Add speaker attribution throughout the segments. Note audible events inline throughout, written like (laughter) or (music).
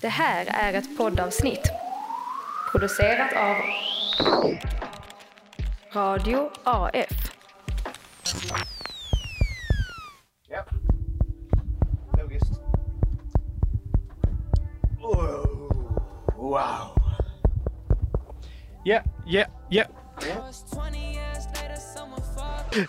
Speaker 1: Det här är ett poddavsnitt producerat av Radio AF.
Speaker 2: Ja. Logiskt. wow.
Speaker 3: Ja, ja, ja.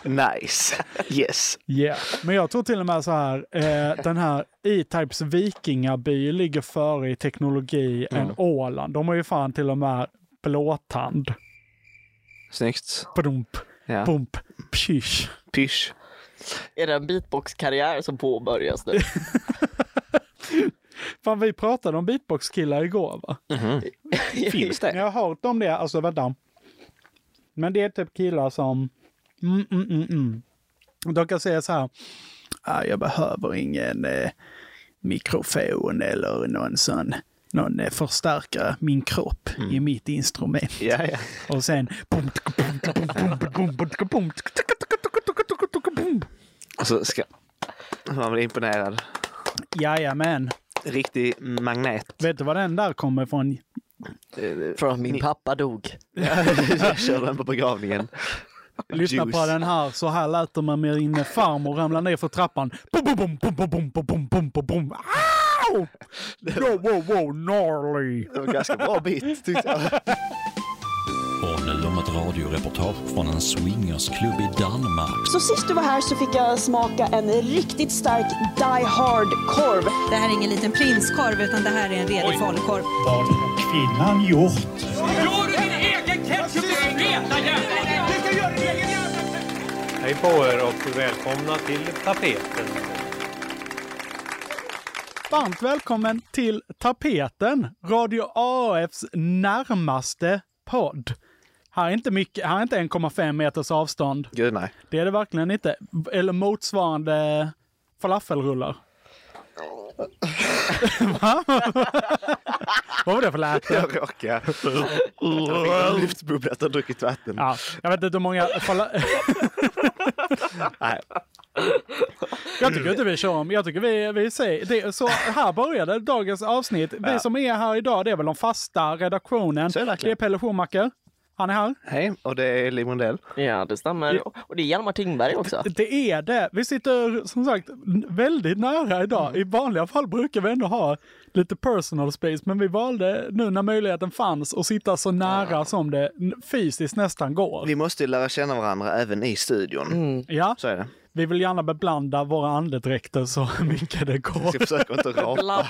Speaker 2: Nice. Yes.
Speaker 3: Ja. Men jag tror till och med så här, eh, den här E-Types vikingaby ligger före i teknologi än Åland. De har ju fan till och med blåtand.
Speaker 2: Snyggt.
Speaker 3: Brump,
Speaker 2: Ja.
Speaker 3: bump, pschisch.
Speaker 2: Pysch.
Speaker 4: Är det en beatbox-karriär som påbörjas nu?
Speaker 3: Fan, vi pratade om beatbox-killar igår va? (laughs)
Speaker 2: Finns
Speaker 3: Men
Speaker 2: det?
Speaker 3: Jag har hört om det, alltså vänta. Men det är typ killar som... Mm, mm, mm, mm. De kan säga så här. Ah, jag behöver ingen eh, mikrofon eller någon sån någon eh, förstärkare. Min kropp är mitt instrument.
Speaker 2: Ja, ja.
Speaker 3: Och sen...
Speaker 2: Och så ska man bli imponerad.
Speaker 3: Jajamän.
Speaker 2: Riktig
Speaker 3: (laughs)
Speaker 2: magnet.
Speaker 3: Vet du var den där kommer ifrån?
Speaker 4: (laughs) Från min pappa dog.
Speaker 2: Jag kör den på begravningen.
Speaker 3: Lyssna på
Speaker 2: Juice.
Speaker 3: den här. Så här lät det när min farmor ramlade ner för trappan. Bum, bum, bum, bum, bum, bum, bum, bum, bum, bum. Au! Wow, wow, wow, gnarly!
Speaker 2: Det var en ganska bra bit, tyckte jag.
Speaker 5: Och nu om ett radioreportage från en swingersklubb i Danmark.
Speaker 6: Så sist du var här så fick jag smaka en riktigt stark Die Hard-korv.
Speaker 7: Det här är ingen liten prinskorv utan det här är en redig falukorv.
Speaker 8: kvinnan gjort?
Speaker 9: Gör du din egen ketchup, din feta jävel! Du ska göra din egen
Speaker 8: Hej på er och välkomna till tapeten.
Speaker 3: Varmt välkommen till Tapeten, Radio AFs närmaste podd. Här är inte, mycket, här är inte 1,5 meters avstånd.
Speaker 2: Gud, nej.
Speaker 3: Det är det verkligen inte. Eller motsvarande falafelrullar. (laughs) Va? Vad var det för läte?
Speaker 2: Jag råkar. Jag fick luftbubbla efter att ha druckit vatten.
Speaker 3: Ja, jag vet inte hur många... Fala...
Speaker 2: Nej.
Speaker 3: (laughs) Jag tycker inte vi kör om. Jag tycker vi, vi säger... Det, så här började dagens avsnitt. Vi som är här idag, det är väl den fasta redaktionen.
Speaker 2: Så är det
Speaker 3: det är
Speaker 2: verkligen.
Speaker 3: Pelle Schumacher. Han är här.
Speaker 2: Hej, och det är Liv Rundell.
Speaker 4: Ja, det stämmer. Och det är Hjalmar Tingberg (laughs) också.
Speaker 3: Det är det. Vi sitter som sagt n- väldigt nära idag.
Speaker 2: Mm.
Speaker 3: I vanliga fall brukar vi ändå ha lite personal space, men vi valde nu när möjligheten fanns att sitta så nära som det n- fysiskt nästan går.
Speaker 2: Vi måste ju lära känna varandra även i studion.
Speaker 3: Ja,
Speaker 2: Så är det.
Speaker 3: vi vill gärna beblanda våra andedräkter så (laughs) mycket det
Speaker 2: Jag ska
Speaker 3: går.
Speaker 2: försöka inte
Speaker 3: (laughs)
Speaker 2: rapa
Speaker 4: Bland-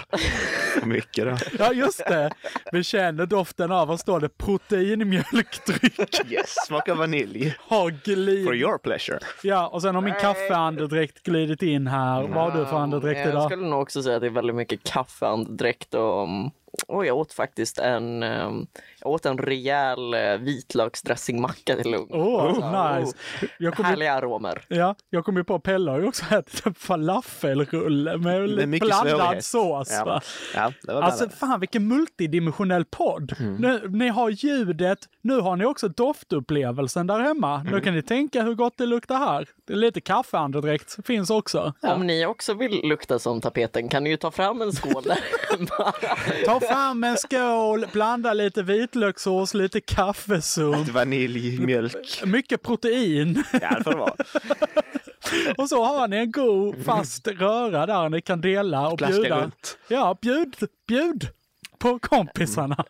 Speaker 2: för mycket då.
Speaker 3: Ja, just det. Vi känner doften av, vad står det, proteinmjölkdryck.
Speaker 2: Yes, smaka vanilj.
Speaker 3: Har
Speaker 2: For
Speaker 3: glidit.
Speaker 2: your
Speaker 3: (laughs)
Speaker 2: pleasure.
Speaker 3: Ja, och sen har min kaffeandedräkt glidit in här. Vad har du för andedräkt
Speaker 4: Mm. Jag
Speaker 3: idag?
Speaker 4: skulle nog också säga att det är väldigt mycket kaffeandedräkt och mm, och jag åt faktiskt en, ehm, jag åt en rejäl eh, vitlöksdressingmacka till lunch.
Speaker 3: Åh,
Speaker 4: Alltså,
Speaker 3: nice.
Speaker 4: oh,
Speaker 3: Jag kommer
Speaker 4: Härliga aromer.
Speaker 3: Ja, jag kom ju på Pelle har ju också ätit en falafelrulle med,
Speaker 2: Med
Speaker 3: lite
Speaker 2: mycket
Speaker 3: blandad
Speaker 2: svårighet.
Speaker 3: sås.
Speaker 2: Ja,
Speaker 3: Va?
Speaker 2: ja det var Mm.
Speaker 3: Alltså
Speaker 2: bra.
Speaker 3: fan vilken multidimensionell podd. Nu, ni har ljudet, nu har ni också doftupplevelsen där hemma. Nu
Speaker 2: Mm.
Speaker 3: kan ni tänka hur gott det luktar här. Det är lite kaffeandedräkt finns också.
Speaker 4: Om ni också vill lukta som tapeten kan ni ju ta fram en skål
Speaker 3: (laughs)
Speaker 4: där hemma.
Speaker 3: Ta fram en skål, blanda lite vitlökssås, lite kaffesump,
Speaker 2: Vanilj, mjölk.
Speaker 3: mycket protein. (laughs)
Speaker 2: Ja, det får det vara.
Speaker 3: Och så har ni en god fast röra där ni kan dela och
Speaker 2: Plaska
Speaker 3: bjuda.
Speaker 2: runt.
Speaker 3: Ja, bjud, bjud på kompisarna.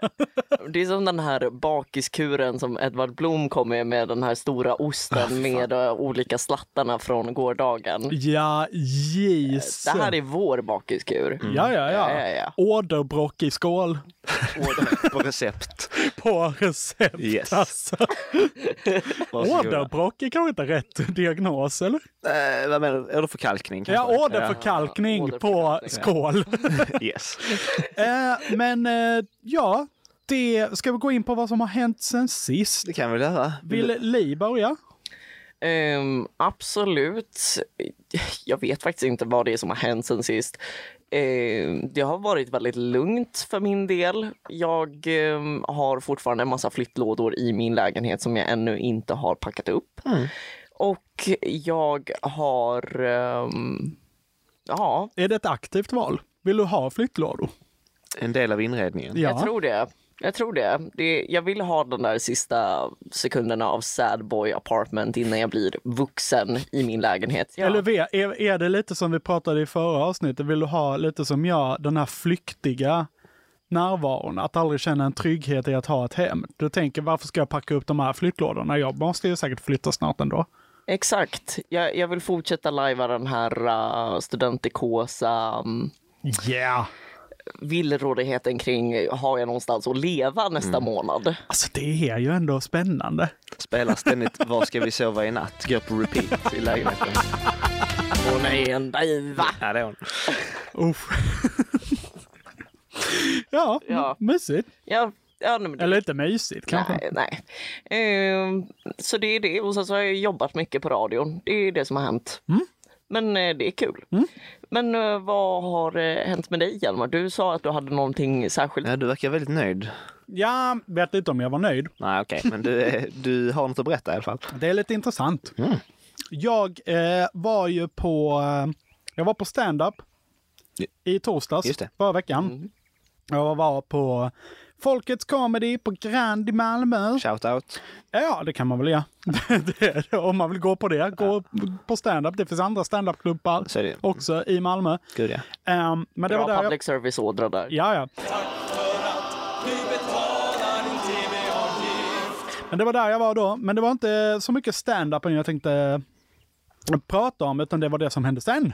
Speaker 4: Mm. Det är som den här bakiskuren som Edvard Blom kom med, med den här stora osten med eh, olika slattarna från gårdagen.
Speaker 3: Ja, Jesus.
Speaker 4: Det här är vår bakiskur.
Speaker 3: Ja, ja, ja.
Speaker 4: Ja, ja, ja.
Speaker 3: Åderbråck i skål
Speaker 2: Order på recept.
Speaker 3: på recept.
Speaker 2: Yes.
Speaker 3: Alltså.
Speaker 2: Varsågoda.
Speaker 3: Åderbråck är kanske inte rätt diagnos, eller?
Speaker 2: Eh, vad menar du? Åderförkalkning kanske?
Speaker 3: Ja, åderförkalkning på skål.
Speaker 2: Yes.
Speaker 3: eh, men eh, ja, det ska vi gå in på vad som har hänt sen sist.
Speaker 2: Det kan vi väl göra.
Speaker 3: Vill
Speaker 4: Mm.
Speaker 3: Li börja?
Speaker 4: Ehm, absolut. Jag vet faktiskt inte vad det är som har hänt sen sist. Ehm, det har varit väldigt lugnt för min del. Jag ehm, har fortfarande en massa flyttlådor i min lägenhet som jag ännu inte har packat upp.
Speaker 3: Mm.
Speaker 4: Och jag har... ehm, ja,
Speaker 3: Är det ett aktivt val? Vill du ha flyttlådor?
Speaker 2: En del av inredningen.
Speaker 3: Ja.
Speaker 4: Jag tror det. Jag tror det. det. Jag vill ha de där sista sekunderna av sad boy apartment innan jag blir vuxen i min lägenhet. Ja.
Speaker 3: Eller vet- är, är det lite som vi pratade i förra avsnittet, vill du ha lite som jag, den här flyktiga närvaron, att aldrig känna en trygghet i att ha ett hem. Du tänker varför ska jag packa upp de här flyttlådorna? Jag måste ju säkert flytta snart ändå.
Speaker 4: Exakt. Jag, jag vill fortsätta lajva den här uh, studentikosa um,
Speaker 3: Yeah!
Speaker 4: villrådigheten kring eh, har jag någonstans att leva nästa månad?
Speaker 3: Alltså det är ju ändå spännande.
Speaker 2: Spelar ständigt Var ska vi sova i natt? Går på repeat i lägenheten.
Speaker 4: (laughs) Hon är en diva!
Speaker 2: Ja, det är hon.
Speaker 3: Uff. ja,
Speaker 4: Ja.
Speaker 3: mysigt.
Speaker 4: Ja, ja, nej, men det-
Speaker 3: Eller inte mysigt kanske.
Speaker 4: Nej, nej. Ehm, så det är det. Och sen så har jag jobbat mycket på radion. Det är det som har hänt.
Speaker 3: Mm.
Speaker 4: Men eh, det är kul. Men eh, vad har eh, hänt med dig Hjalmar? Du sa att du hade någonting särskilt.
Speaker 2: Ja, du verkar väldigt nöjd.
Speaker 3: Jag vet inte om jag var nöjd.
Speaker 2: Nej, okej, men du, är- du har något att berätta i alla fall.
Speaker 3: Det är lite intressant.
Speaker 2: Mm.
Speaker 3: Jag eh, var ju på, eh, jag var på stand-up i torsdags
Speaker 2: Just det. Mm.
Speaker 3: förra veckan. Jag var på Folkets Comedy på Grand i Malmö.
Speaker 2: Shout out.
Speaker 3: Ja, det kan man väl göra. (laughs) Det är det. Om man vill gå på det, gå på stand-up. Det finns andra stand-up-klubbar
Speaker 2: Så är det.
Speaker 3: också i Malmö.
Speaker 2: Gud ja.
Speaker 3: Ehm, men det
Speaker 4: Bra
Speaker 3: var där jag...
Speaker 4: public service-ådra där.
Speaker 3: Ja, ja. Men det var där jag var då. Men det var inte så mycket stand-upen jag tänkte prata om, utan det var det som hände sen.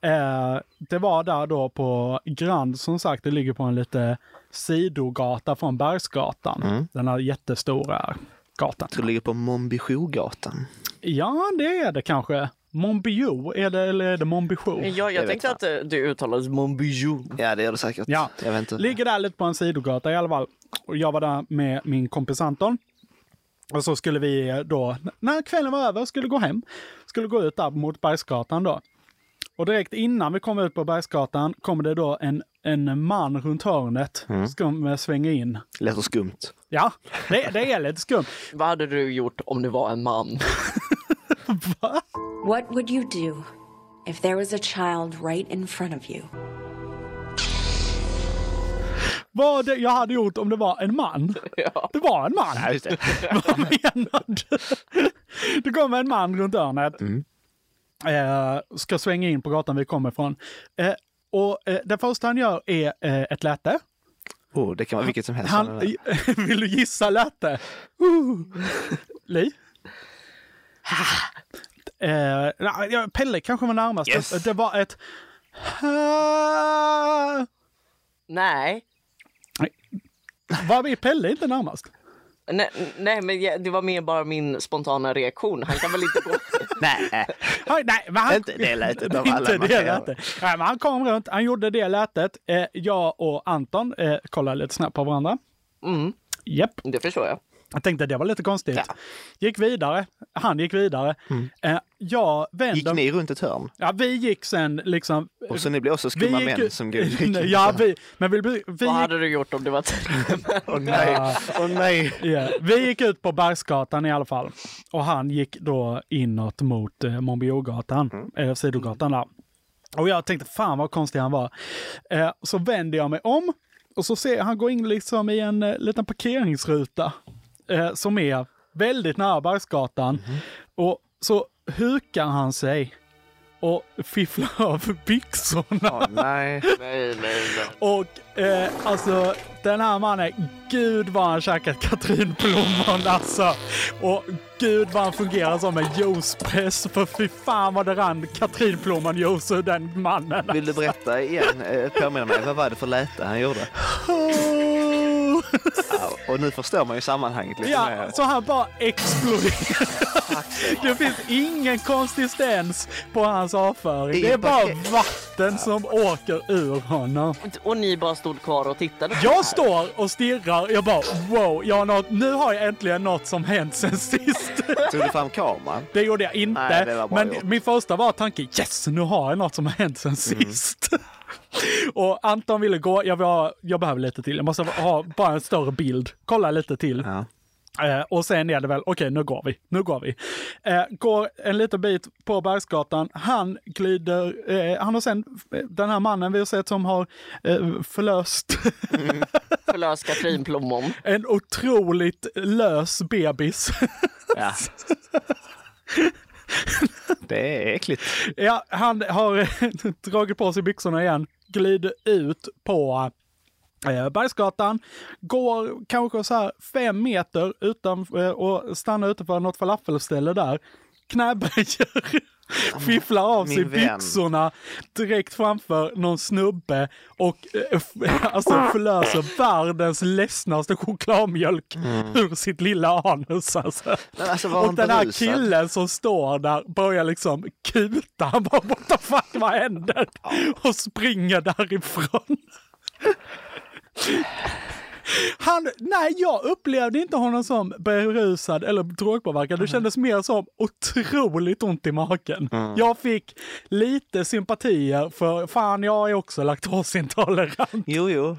Speaker 3: Eh, det var där då på Grand, som sagt, det ligger på en lite sidogata från Bergsgatan. Den här jättestora gatan.
Speaker 2: Så du ligger på Mombijougatan.
Speaker 3: Ja, det är det kanske. Monbio, är det, eller är det Monbijou?
Speaker 4: Ja, jag
Speaker 2: vet
Speaker 4: tänkte
Speaker 2: jag.
Speaker 4: att eh, det uttalades Monbijou.
Speaker 2: Ja, det gör du säkert.
Speaker 3: Ja,
Speaker 2: Jag vet inte.
Speaker 3: ligger där lite på en sidogata i alla fall. Och jag var där med min kompis Anton. Och så skulle vi eh, då, när kvällen var över, skulle gå hem. Skulle gå ut där mot Bergsgatan då. Och direkt innan vi kom ut på Bergsgatan kommer det då en, en man runt hörnet
Speaker 2: Mm.
Speaker 3: som eh, svänger in.
Speaker 2: Låter skumt.
Speaker 3: Ja, det, det är lite skumt.
Speaker 4: Vad hade du gjort om du var en man?
Speaker 10: What would you do if there was a child right in front of you?
Speaker 3: Vad det jag hade gjort om det var en man. Det var en man.
Speaker 2: (laughs) Ja, just det.
Speaker 3: (laughs) Vad menar du? Det kommer en man runt hörnet. Eh, ska svänga in på gatan vi kommer ifrån. Eh, och eh, det första han gör är eh, ett läte.
Speaker 2: Oh, det kan vara vilket som helst.
Speaker 3: Han, (laughs) vill du gissa läte? Uh. Li? (laughs) Eh, nej, ja, Pelle kanske var närmast.
Speaker 2: Yes.
Speaker 3: Det, det var ett... (laughs) Ah.
Speaker 4: (laughs) nej.
Speaker 3: Var Pelle inte närmast?
Speaker 4: nej, nej, men jag- det var mer bara min spontana reaktion. Han kan väl inte gå...
Speaker 2: Nej, eh,
Speaker 3: Han, nej, men han,
Speaker 2: Inte det lätet av
Speaker 3: (laughs)
Speaker 2: alla
Speaker 3: Inte
Speaker 2: man
Speaker 3: det
Speaker 2: kan göra.
Speaker 3: lätet. Nej, men han kom runt, han gjorde det lätet. Eh, jag och Anton eh, kollade lite snabbt på varandra.
Speaker 4: Mm,
Speaker 3: Japp,
Speaker 4: (laughs) det förstår jag.
Speaker 3: jag tänkte det var lite konstigt. Gick vidare, han gick vidare. Eh, jag
Speaker 2: Mm. gick
Speaker 3: vände...
Speaker 2: ni runt ett hörn?
Speaker 3: Ja, vi gick sen liksom...
Speaker 2: Och så ni blev också skumma
Speaker 3: gick-
Speaker 2: män som
Speaker 3: (laughs)
Speaker 2: går
Speaker 3: Ja, vi, men vi, vi, vi,
Speaker 4: Vad
Speaker 3: gick,
Speaker 4: hade du gjort om det var tre män?
Speaker 2: Åh nej, åh nej.
Speaker 3: ja, vi gick ut på Bergsgatan i alla fall. Och han gick då inåt mot eh, Monbiogatan, eh, sidogatan där. Och jag tänkte fan vad konstig han var. Eh, så vänder jag mig om och så ser jag han går in liksom i en eh, liten parkeringsruta eh, som är väldigt nära Bergsgatan. Och så hukar han sig och fifflar över byxorna.
Speaker 2: Åh nej.
Speaker 4: (laughs) Nej, nej, nej.
Speaker 3: Och eh, alltså den här mannen, gud vad han käkat katrinplommon alltså. Och gud vad han fungerar som en juicepress. För fy fan vad det rann katrinplommon-juice ur den mannen.
Speaker 2: Vill du berätta igen? Eh, Påminna mig, vad var det för läte han gjorde? Ja, och nu förstår man ju sammanhanget
Speaker 3: (laughs)
Speaker 2: lite
Speaker 3: Ja,
Speaker 2: mer.
Speaker 3: så han bara exploderar. Det finns ingen konsistens på hans avföring. Det är
Speaker 2: Ingen
Speaker 3: bara
Speaker 2: paket.
Speaker 3: vatten som åker ur honom.
Speaker 4: Och ni bara stod kvar och tittade? på det här.
Speaker 3: Jag står och stirrar. Jag bara wow, jag har något, nu har jag äntligen något som hänt sen
Speaker 2: (laughs)
Speaker 3: sist.
Speaker 2: Tog du fram kameran?
Speaker 3: Det gjorde jag inte.
Speaker 2: Nej, det var bra
Speaker 3: men
Speaker 2: gjort. Mm.
Speaker 3: min första var tanke, yes, nu har jag något som har hänt sen sist. (laughs) och Anton ville gå, jag, var, jag behöver lite till, jag måste ha bara en större bild, kolla lite till.
Speaker 2: Ja.
Speaker 3: Eh, och sen är det väl, okej nu går vi, nu går vi. Eh, går en liten bit på Bergsgatan, han glider, eh, han har sen, den här mannen vi har sett som har eh, förlöst
Speaker 4: Förlös Katrin Plommon.
Speaker 3: en otroligt lös bebis. (laughs)
Speaker 2: Ja. Det är äckligt.
Speaker 3: ja, han har (laughs) dragit på sig byxorna igen, glider ut på eh, Bergsgatan, går kanske så här fem meter utan, eh, och stannar utanför något falafelställe där, knäböjer, (laughs) fifflar av sig
Speaker 2: min vän.
Speaker 3: byxorna direkt framför någon snubbe och eh, (laughs) f- alltså förlöser världens ledsnaste chokladmjölk
Speaker 2: Mm.
Speaker 3: ur sitt lilla anus. Alltså.
Speaker 2: Men alltså, var
Speaker 3: Och
Speaker 2: han
Speaker 3: den här
Speaker 2: berusad?
Speaker 3: killen som står där börjar liksom kuta. (laughs) Han bara what the fuck, vad händer? Och springer därifrån. Han, nej, jag upplevde inte honom som berusad eller drogpåverkad. Det kändes mer som otroligt ont i magen. Jag fick lite sympatier för fan, jag är också laktosintolerant.
Speaker 2: Jo, jo.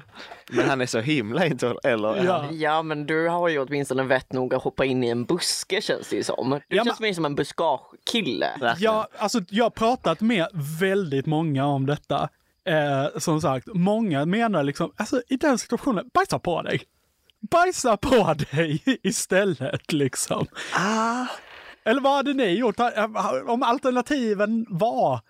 Speaker 2: Men han är så himla intolerant. Eller
Speaker 3: Ja.
Speaker 4: Ja, men du har ju åtminstone vett nog att hoppa in i en buske känns det ju som. Du
Speaker 3: Ja,
Speaker 4: känns mer som en buskagekille.
Speaker 2: Verkligen.
Speaker 3: Jag, alltså, jag har pratat med väldigt många om detta. Eh, som sagt, många menar liksom, alltså i den situationen, bajsa på dig. Bajsa på dig (laughs) istället liksom. Eller vad hade ni gjort om alternativen var?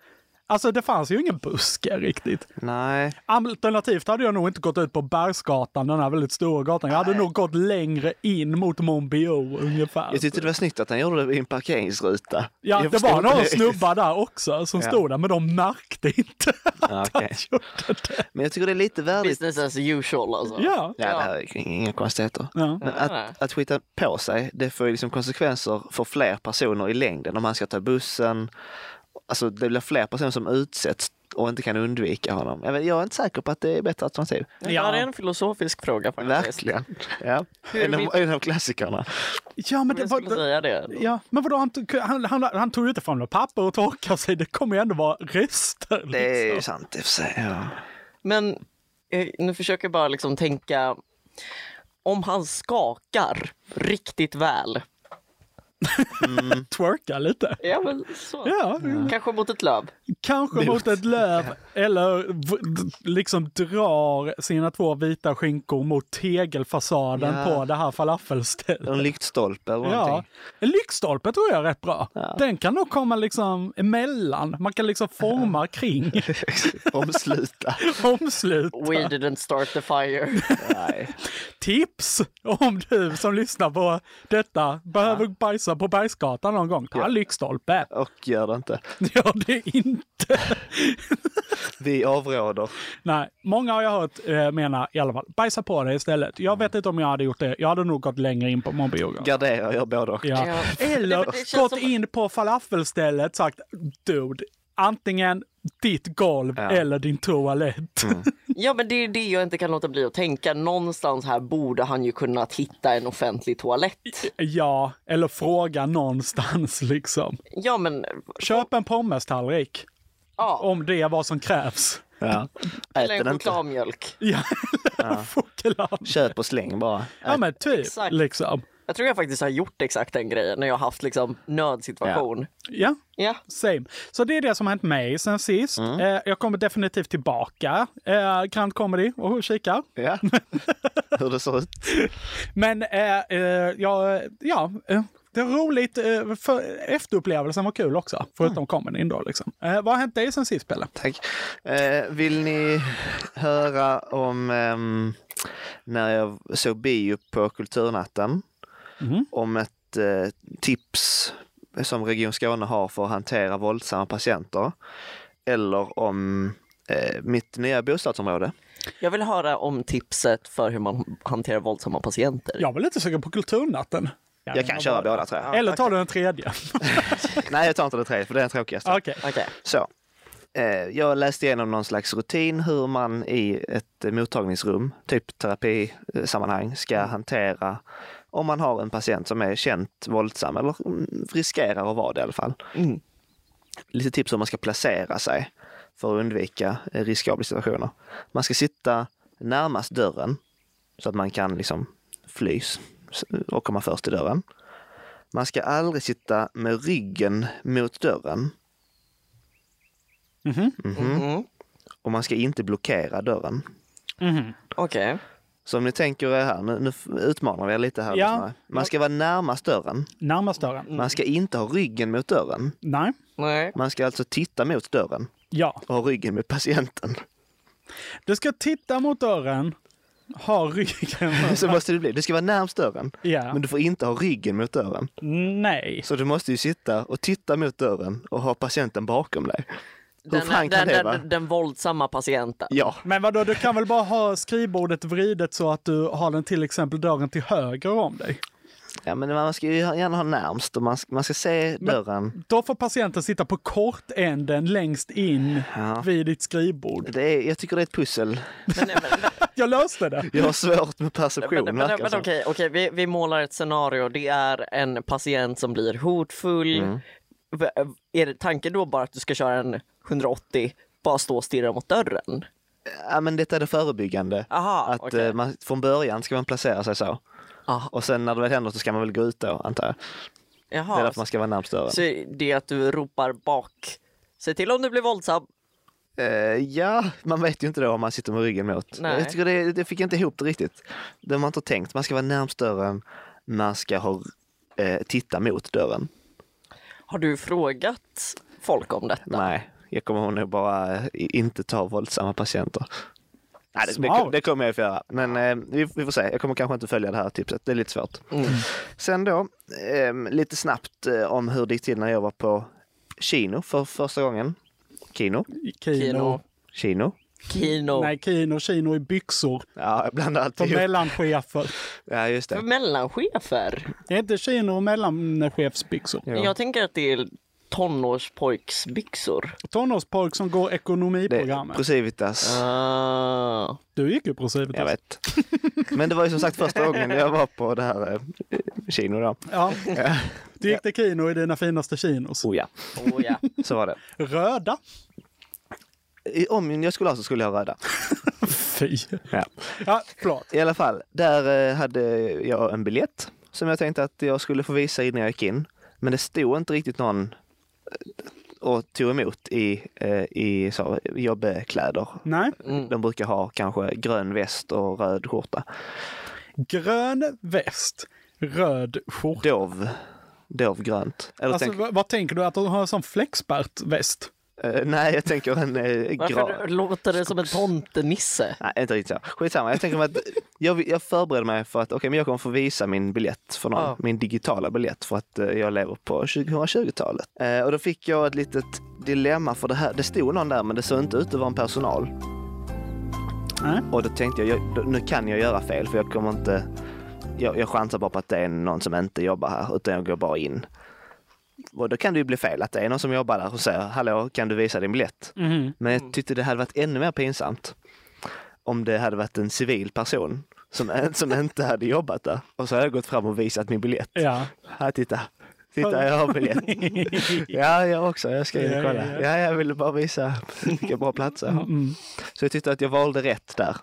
Speaker 3: Alltså det fanns ju ingen buske riktigt.
Speaker 2: Nej.
Speaker 3: Alternativt hade jag nog inte gått ut på Bergsgatan, den här väldigt stora gatan. Jag hade nog gått längre in mot Monbio ungefär.
Speaker 2: Jag tyckte det var snyggt att han gjorde det i en parkeringsruta.
Speaker 3: Ja,
Speaker 2: Jag
Speaker 3: det
Speaker 2: förstår
Speaker 3: var några
Speaker 2: inte det.
Speaker 3: snubbar där också som stod där, men de märkte inte (laughs) att
Speaker 2: Ja,
Speaker 3: han
Speaker 2: okej.
Speaker 3: gjorde det.
Speaker 2: Men jag tycker det är lite värdigt.
Speaker 4: Business as usual alltså.
Speaker 3: Ja.
Speaker 2: Ja, det här är inga konstigheter.
Speaker 3: Ja.
Speaker 2: Men
Speaker 4: Nej.
Speaker 2: att, att skita på sig, det får ju liksom konsekvenser för fler personer i längden. Om han ska ta bussen, alltså det blir fler personer som utsätts och inte kan undvika honom. Jag, vet, jag är inte säker på att det är bättre alternativ.
Speaker 4: Det här är en filosofisk fråga faktiskt.
Speaker 2: Verkligen. Ja.
Speaker 4: Hur
Speaker 2: En, av,
Speaker 4: vi-
Speaker 2: en av klassikerna.
Speaker 3: ja, men det
Speaker 4: Jag skulle
Speaker 3: var...
Speaker 4: säga det.
Speaker 3: Ja, men vadå, han, tog- han, han, han tog ju inte fram några papper och torkade sig. Det kommer ju ändå vara rester.
Speaker 2: Det är ju
Speaker 3: liksom.
Speaker 2: sant i och för sig. Ja.
Speaker 4: Men eh, nu försöker jag bara liksom tänka, om han skakar riktigt väl.
Speaker 3: Twerka lite.
Speaker 4: Ja, men så.
Speaker 3: Ja,
Speaker 4: Kanske mot ett löv.
Speaker 3: kanske mot ett löv eller v- d- liksom drar sina två vita skinkor mot tegelfasaden
Speaker 2: Ja.
Speaker 3: på det här falafelstället.
Speaker 2: En lyktstolpe eller
Speaker 3: Ja,
Speaker 2: någonting.
Speaker 3: en lyktstolpe tror jag är rätt bra. Den kan nog komma liksom emellan. Man kan liksom forma kring,
Speaker 2: Omsluta.
Speaker 3: omsluta.
Speaker 4: We didn't start the fire.
Speaker 2: (laughs) Nej.
Speaker 3: Tips om du som lyssnar på detta behöver bajsa på Bergsgatan någon gång. Ta en lyktstolpe. (laughs)
Speaker 2: Och gör det inte.
Speaker 3: Gör det inte.
Speaker 2: Vi avråder.
Speaker 3: Nej, många har jag hört eh, mena i alla fall, bajsa på det istället. Jag vet inte om jag hade gjort det. Jag hade nog gått längre in på mobilbiografen.
Speaker 2: Gardera, gör både och.
Speaker 3: Ja.
Speaker 4: Ja. Nej,
Speaker 3: Eller
Speaker 4: men det
Speaker 3: gått
Speaker 4: känns som-
Speaker 3: in på falafelstället sagt dude, antingen ditt golv eller din toalett.
Speaker 4: Ja, men det är det jag inte kan låta bli att tänka. Någonstans här borde han ju kunnat hitta en offentlig toalett.
Speaker 3: (laughs) ja, eller fråga någonstans liksom.
Speaker 4: Ja, men
Speaker 3: Köp en pommestallrik
Speaker 4: ja.
Speaker 3: om det är vad som krävs.
Speaker 2: Ja.
Speaker 4: Eller
Speaker 2: Ät
Speaker 4: en
Speaker 2: den inte.
Speaker 4: chokladmjölk.
Speaker 3: Ja, (laughs) choklad.
Speaker 2: Köp och släng bara.
Speaker 3: Ja men typ
Speaker 4: Exakt.
Speaker 3: liksom.
Speaker 4: Jag tror jag faktiskt har gjort exakt den grejen när jag har haft liksom nödsituation.
Speaker 3: Ja,
Speaker 4: Ja.
Speaker 3: same. Så det är det som har hänt mig sen sist.
Speaker 2: Mm.
Speaker 3: Eh, jag kommer definitivt tillbaka, eh, Grand Comedy, och kika.
Speaker 2: Ja. Hur det ser ut.
Speaker 3: Men eh, eh, ja, ja eh, det var roligt. Eh, för efterupplevelsen var kul också,
Speaker 2: Mm.
Speaker 3: förutom comedyn då. Liksom. Eh, vad har hänt dig sen sist, Pelle?
Speaker 2: Tack. Eh, vill ni höra om ehm, när jag såg bio på Kulturnatten? Om ett eh, tips som Region Skåne har för att hantera våldsamma patienter. Eller om eh, mitt nya bostadsområde.
Speaker 4: Jag vill höra om tipset för hur man hanterar våldsamma patienter.
Speaker 3: Jag var lite sugen på Kulturnatten.
Speaker 2: Jag kan köra båda tror jag.
Speaker 3: Eller tar du den tredje?
Speaker 2: Nej, jag tar inte det tredje för det är den tråkigaste.
Speaker 3: Okej.
Speaker 4: Okej.
Speaker 2: Så. Eh, Jag läste igenom någon slags rutin hur man i ett eh, mottagningsrum, typ terapisammanhang, ska hantera om man har en patient som är känt våldsam eller mm, riskerar att vara det i alla fall. Lite tips hur man ska placera sig för att undvika eh, riskabla situationer. Man ska sitta närmast dörren så att man kan liksom flys s- och komma först till dörren. Man ska aldrig sitta med ryggen mot dörren
Speaker 4: Mm.
Speaker 2: och man ska inte blockera dörren.
Speaker 4: Okej.
Speaker 2: Så om ni tänker er här, nu, nu f- utmanar vi er lite här.
Speaker 3: Ja.
Speaker 2: lyssnare. Man ska vara närmast dörren.
Speaker 3: Närmast dörren?
Speaker 2: Man ska inte ha ryggen mot dörren.
Speaker 3: Nej.
Speaker 4: Nej.
Speaker 2: Man ska alltså titta mot dörren
Speaker 3: Ja.
Speaker 2: och ha ryggen mot patienten. (laughs)
Speaker 3: Du ska titta mot dörren, ha ryggen
Speaker 2: Så måste det bli. Du ska vara närmst dörren,
Speaker 3: Ja.
Speaker 2: men du får inte ha ryggen mot dörren.
Speaker 3: Nej.
Speaker 2: Så du måste ju sitta och titta mot dörren och ha patienten bakom dig. Hur
Speaker 4: Den,
Speaker 2: fan
Speaker 4: den,
Speaker 2: kan
Speaker 4: den,
Speaker 2: det vara?
Speaker 4: den, den våldsamma patienten.
Speaker 2: Ja,
Speaker 3: Men vadå, du kan väl bara ha skrivbordet vridet så att du har den till exempel dörren till höger om dig?
Speaker 2: ja men man ska ju gärna ha närmst och man ska, man ska se dörren.
Speaker 3: Då får patienten sitta på kortänden längst in
Speaker 2: Ja.
Speaker 3: vid ditt skrivbord. (laughs)
Speaker 2: Det är, jag tycker det är ett pussel.
Speaker 4: Men, men, men,
Speaker 3: Jag löste det!
Speaker 2: Jag har svårt med
Speaker 4: men,
Speaker 2: perception.
Speaker 4: men,
Speaker 2: verkar det
Speaker 4: men
Speaker 2: som.
Speaker 4: okej, okej vi, vi målar ett scenario. Det är en patient som blir hotfull.
Speaker 2: Mm.
Speaker 4: V- Är det tanken då bara att du ska köra en 180, bara stå och stirra mot dörren?
Speaker 2: Ja, men detta är det förebyggande.
Speaker 4: Aha,
Speaker 2: att
Speaker 4: okej.
Speaker 2: eh, man, från början ska man placera sig så.
Speaker 4: Aha.
Speaker 2: Och sen när det väl händer så ska man väl gå ut då, antar jag.
Speaker 4: Jaha,
Speaker 2: Det är därför man ska vara närmst dörren.
Speaker 4: så det är att du ropar bak. Se till om du blir våldsam.
Speaker 2: Eh, ja, man vet ju inte då om man sitter med ryggen mot.
Speaker 4: Nej.
Speaker 2: Jag tycker det, det fick jag inte ihop det riktigt. Det har man inte tänkt. Man ska vara närmst dörren, man ska ha, eh, titta mot dörren.
Speaker 4: Har du frågat folk om detta?
Speaker 2: Nej, jag kommer nog bara eh, inte ta våldsamma patienter. Nej, det, det,
Speaker 3: Smart.
Speaker 2: det kommer jag att få göra. Men eh, vi, vi får se. Jag kommer kanske inte följa det här tipset. Det är lite svårt. Sen då, ehm, lite snabbt eh, om hur det gick till när jag var på Kino för första gången. Kino?
Speaker 3: Kino.
Speaker 4: Kino.
Speaker 2: Kino?
Speaker 4: Kino.
Speaker 3: Nej, kino, kino i byxor.
Speaker 2: Ja, jag blandar
Speaker 3: För
Speaker 2: alltid ihop.
Speaker 3: mellanchefer.
Speaker 2: Ja, just det.
Speaker 4: Mellanchefer?
Speaker 3: Det är inte kino och mellanchefsbyxor.
Speaker 2: Ja.
Speaker 4: Jag tänker att det är tonårspojksbyxor.
Speaker 3: Tonårspojk som går
Speaker 2: Det
Speaker 3: ekonomiprogrammet.
Speaker 2: Procivitas.
Speaker 4: Ah.
Speaker 3: Du gick ju på Civitas.
Speaker 2: Jag vet. Men det var ju som sagt första gången jag var på det här eh, Kino då.
Speaker 3: Ja. Du gick till Kino i dina finaste kinos.
Speaker 2: Oh ja,
Speaker 4: Oh, ja.
Speaker 2: så var det.
Speaker 3: Röda.
Speaker 2: I- Om jag skulle ha så skulle jag ha röda.
Speaker 3: Fy.
Speaker 2: Ja.
Speaker 3: Ja, förlåt.
Speaker 2: I alla fall, där eh, hade jag en biljett som jag tänkte att jag skulle få visa innan jag gick in. Men det stod inte riktigt någon eh, och tog emot i, eh, i så, jobbkläder.
Speaker 3: Nej.
Speaker 2: De brukar ha kanske grön väst och röd skjorta.
Speaker 3: Grön väst, röd skjorta.
Speaker 2: Dov. Dovgrönt. Eller
Speaker 3: Alltså,
Speaker 2: tänk,
Speaker 3: vad, vad tänker du? Att de har en sån flexbart-väst?
Speaker 2: eh, nej, jag tänker en eh,
Speaker 4: Varför
Speaker 2: grön.
Speaker 4: låter det som en tomtenisse?
Speaker 2: Nej, inte riktigt så. Skitsamma, jag tänker mig att jag, jag förbereder mig för att okej, men jag kommer få visa min biljett för någon,
Speaker 4: Ja.
Speaker 2: min digitala biljett för att eh, jag lever på 2020-talet. Eh, och då fick jag ett litet dilemma för det här. Det stod någon där, men det såg inte ut att vara en personal.
Speaker 3: Nej.
Speaker 2: Och då tänkte jag, jag, nu kan jag göra fel för jag kommer inte, jag, jag chansar bara på att det är någon som inte jobbar här utan jag går bara in. Och då kan det ju bli fel att det är någon som jobbar där och säger hallå kan du visa din biljett? Men
Speaker 3: Mm.
Speaker 2: jag tyckte det hade varit ännu mer pinsamt om det hade varit en civil person som, som inte hade jobbat där och så hade jag gått fram och visat min biljett. (laughs)
Speaker 3: Ja.
Speaker 2: Här titta, titta jag
Speaker 3: (laughs)
Speaker 2: har biljett. Ja, jag också. Jag ska in och
Speaker 3: Ja,
Speaker 2: kolla.
Speaker 3: ja, Mm,
Speaker 2: Ja, jag ville bara visa vilka bra platser jag har. Så jag tyckte att jag valde rätt där.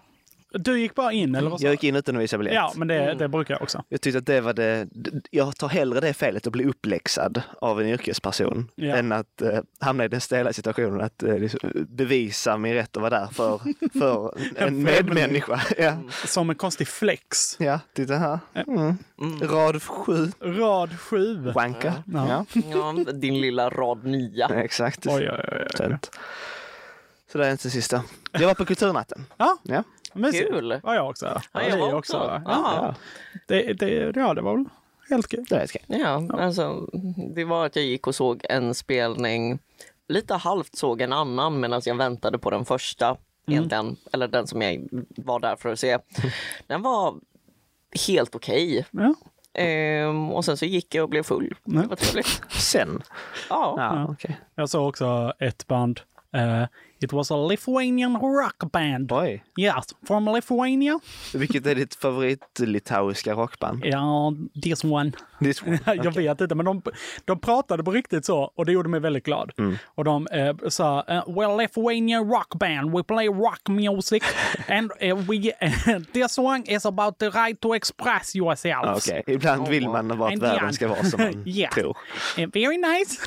Speaker 3: Du gick bara in, eller vad sa
Speaker 2: Jag gick Mm. in utan att visa biljett.
Speaker 3: Ja, men det, det brukar jag också.
Speaker 2: Jag tyckte att det var det. d- Jag tar hellre det felet att bli uppläxad av en yrkesperson
Speaker 3: Ja.
Speaker 2: än att eh, hamna i den stela situationen att eh, liksom, bevisa min rätt att vara där för,
Speaker 3: (laughs)
Speaker 2: för en medmänniska. (laughs) Ja,
Speaker 3: Som en konstig flex.
Speaker 2: ja titta här. Mm. Rad sju,
Speaker 3: Rad sju.
Speaker 2: wanka.
Speaker 3: Ja.
Speaker 2: Ja.
Speaker 4: Ja, din lilla rad nia.
Speaker 2: Exakt.
Speaker 3: Oj, oj, oj.
Speaker 2: Tönt. Så det är inte den sista. Jag var på Kulturnatten.
Speaker 3: Ja,
Speaker 2: Ja.
Speaker 3: mysigt.
Speaker 4: Kul.
Speaker 3: Ja, jag också.
Speaker 4: Ja,
Speaker 3: Ni
Speaker 4: jag var också.
Speaker 3: va? Ja.
Speaker 4: Ja.
Speaker 3: Det, det, ja, det var väl helt kul.
Speaker 2: Det är okej.
Speaker 4: Ja, alltså, det var att jag gick och såg en spelning, lite halvt såg en annan medan jag väntade på den första, egentligen, eller den som jag var där för att se. Den var helt okej.
Speaker 3: Ja.
Speaker 4: Ehm, och sen så gick jag och blev full. Det var trevligt.
Speaker 2: Sen.
Speaker 4: Ja.
Speaker 2: Ja, okej.
Speaker 3: Jag såg också ett band, eh, It was a Lithuanian rock band.
Speaker 2: Oj.
Speaker 3: Yes, from Lithuania.
Speaker 2: Vilket är ditt favorit-litauiska rockband?
Speaker 3: Ja, this one.
Speaker 2: This one.
Speaker 3: (laughs) Jag vet inte, men de, de pratade på riktigt så och det gjorde mig väldigt glad.
Speaker 2: Mm.
Speaker 3: Och de eh, sa eh, “We're Lithuanian rock band, we play rock
Speaker 2: (laughs)
Speaker 3: music and eh, we, (laughs) this song is about the right to express yourself”.
Speaker 2: Ah, Okej, ibland vill man vara att
Speaker 3: And
Speaker 2: världen
Speaker 3: young.
Speaker 2: ska vara som (laughs) man
Speaker 3: (laughs) Yeah.
Speaker 2: tror.
Speaker 3: Eh, Very nice.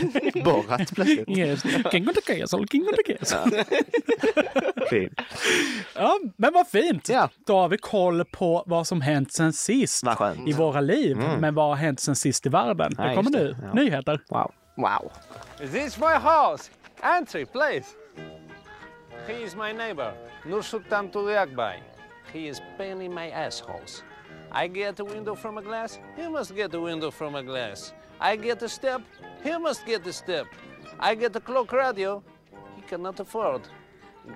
Speaker 3: (laughs)
Speaker 2: Borrat plötsligt.
Speaker 3: yes. King of the castle, king of the castle.
Speaker 2: Fin.
Speaker 3: (laughs) ja, men vad fint.
Speaker 2: Ja.
Speaker 3: Då har vi koll på vad som hänt sen sist
Speaker 2: Vad skönt. Mm.
Speaker 3: i våra liv. Men vad har hänt sen sist i världen?
Speaker 2: Ja,
Speaker 3: det kommer
Speaker 2: just
Speaker 3: nu.
Speaker 2: det. Ja.
Speaker 3: Nyheter.
Speaker 2: Wow.
Speaker 4: Wow.
Speaker 8: Is this my house? Entry, please. He is my neighbor, Nursultan Tudiakbay. He is pain in my assholes. I get a window from a glass, he must get a window from a glass. I get a step, he must get a step. I get a clock radio, he cannot afford.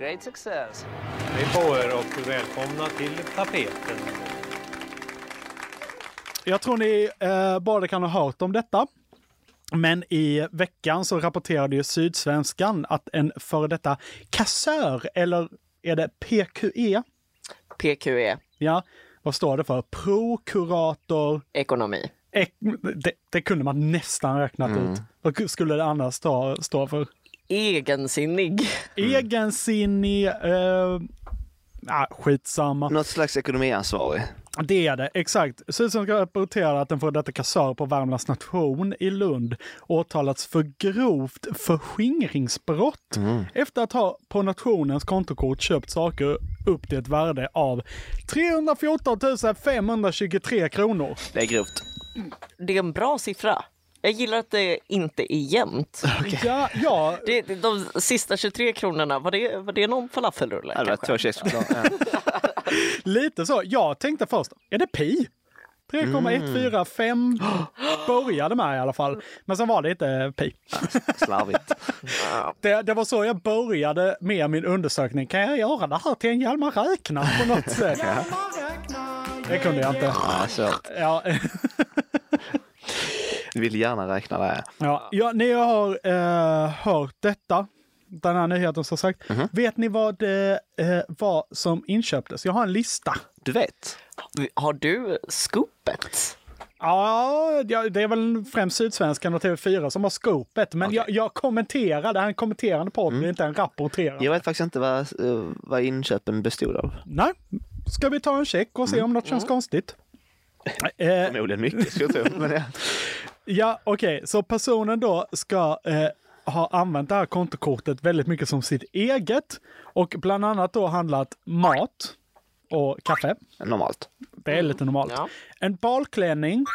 Speaker 8: Great success. Hej på er och välkomna till tapeten.
Speaker 3: Jag tror ni eh, båda kan ha hört om detta. Men i veckan så rapporterade ju Sydsvenskan att en före detta kassör, eller är det PQE?
Speaker 4: PQE,
Speaker 3: Ja, vad står det för? Prokurator
Speaker 4: ekonomi.
Speaker 3: Ek- det, det kunde man nästan räknat ut. Vad skulle det annars stå, stå för?
Speaker 4: Egensinnig.
Speaker 3: Egensinnig... Eh, ah, skitsamma.
Speaker 2: Något slags ekonomiansvarig.
Speaker 3: Det är det, exakt. Sydsvenskan rapporterar att en före detta kassör på Värmlands nation i Lund åtalats för grovt förskingringsbrott efter att ha på nationens kontokort köpt saker upp till ett värde av 314 523 kronor.
Speaker 2: Det är grovt.
Speaker 4: Det är en bra siffra. Jag gillar att det inte är jämnt.
Speaker 3: Ja, ja,
Speaker 4: Det, det- de sista 23 kronorna, var det, var det någon falafelrulle?
Speaker 2: Ja, Det var
Speaker 4: kanske?
Speaker 2: två kexchoklad. Ja.
Speaker 3: Lite så. Jag tänkte först, är det pi? 3,145 började med i alla fall. Men sen var det inte pi.
Speaker 2: Slarvigt.
Speaker 3: Det, det var så jag började med min undersökning. Kan jag göra det här till en Hjalmar räknar på något sätt? Det kunde jag inte.
Speaker 2: Ja, svårt.
Speaker 3: Ja, (laughs)
Speaker 2: Vill gärna räkna det. här.
Speaker 3: ja, ja, ni har eh, hört detta, den här nyheten som sagt. Vet ni vad det eh, var som inköptes? Jag har en lista.
Speaker 2: Du vet.
Speaker 4: Har du skopet?
Speaker 3: Ja, ja, det är väl främst Sydsvenskan och TV4 som har skopet. Men jag, jag kommenterade, han kommenterande podd, det är inte en rapporterande.
Speaker 2: Jag vet faktiskt inte vad, eh, vad inköpen bestod av.
Speaker 3: Nej, ska vi ta en check och se om något känns konstigt? Eh,
Speaker 2: Förmodligen mycket skulle jag tro. Men ja.
Speaker 3: ja, okej, så personen då ska eh, ha använt det här kontokortet väldigt mycket som sitt eget och bland annat då handlat mat och kaffe.
Speaker 2: Normalt.
Speaker 3: Det är lite normalt.
Speaker 4: Ja.
Speaker 3: En balklänning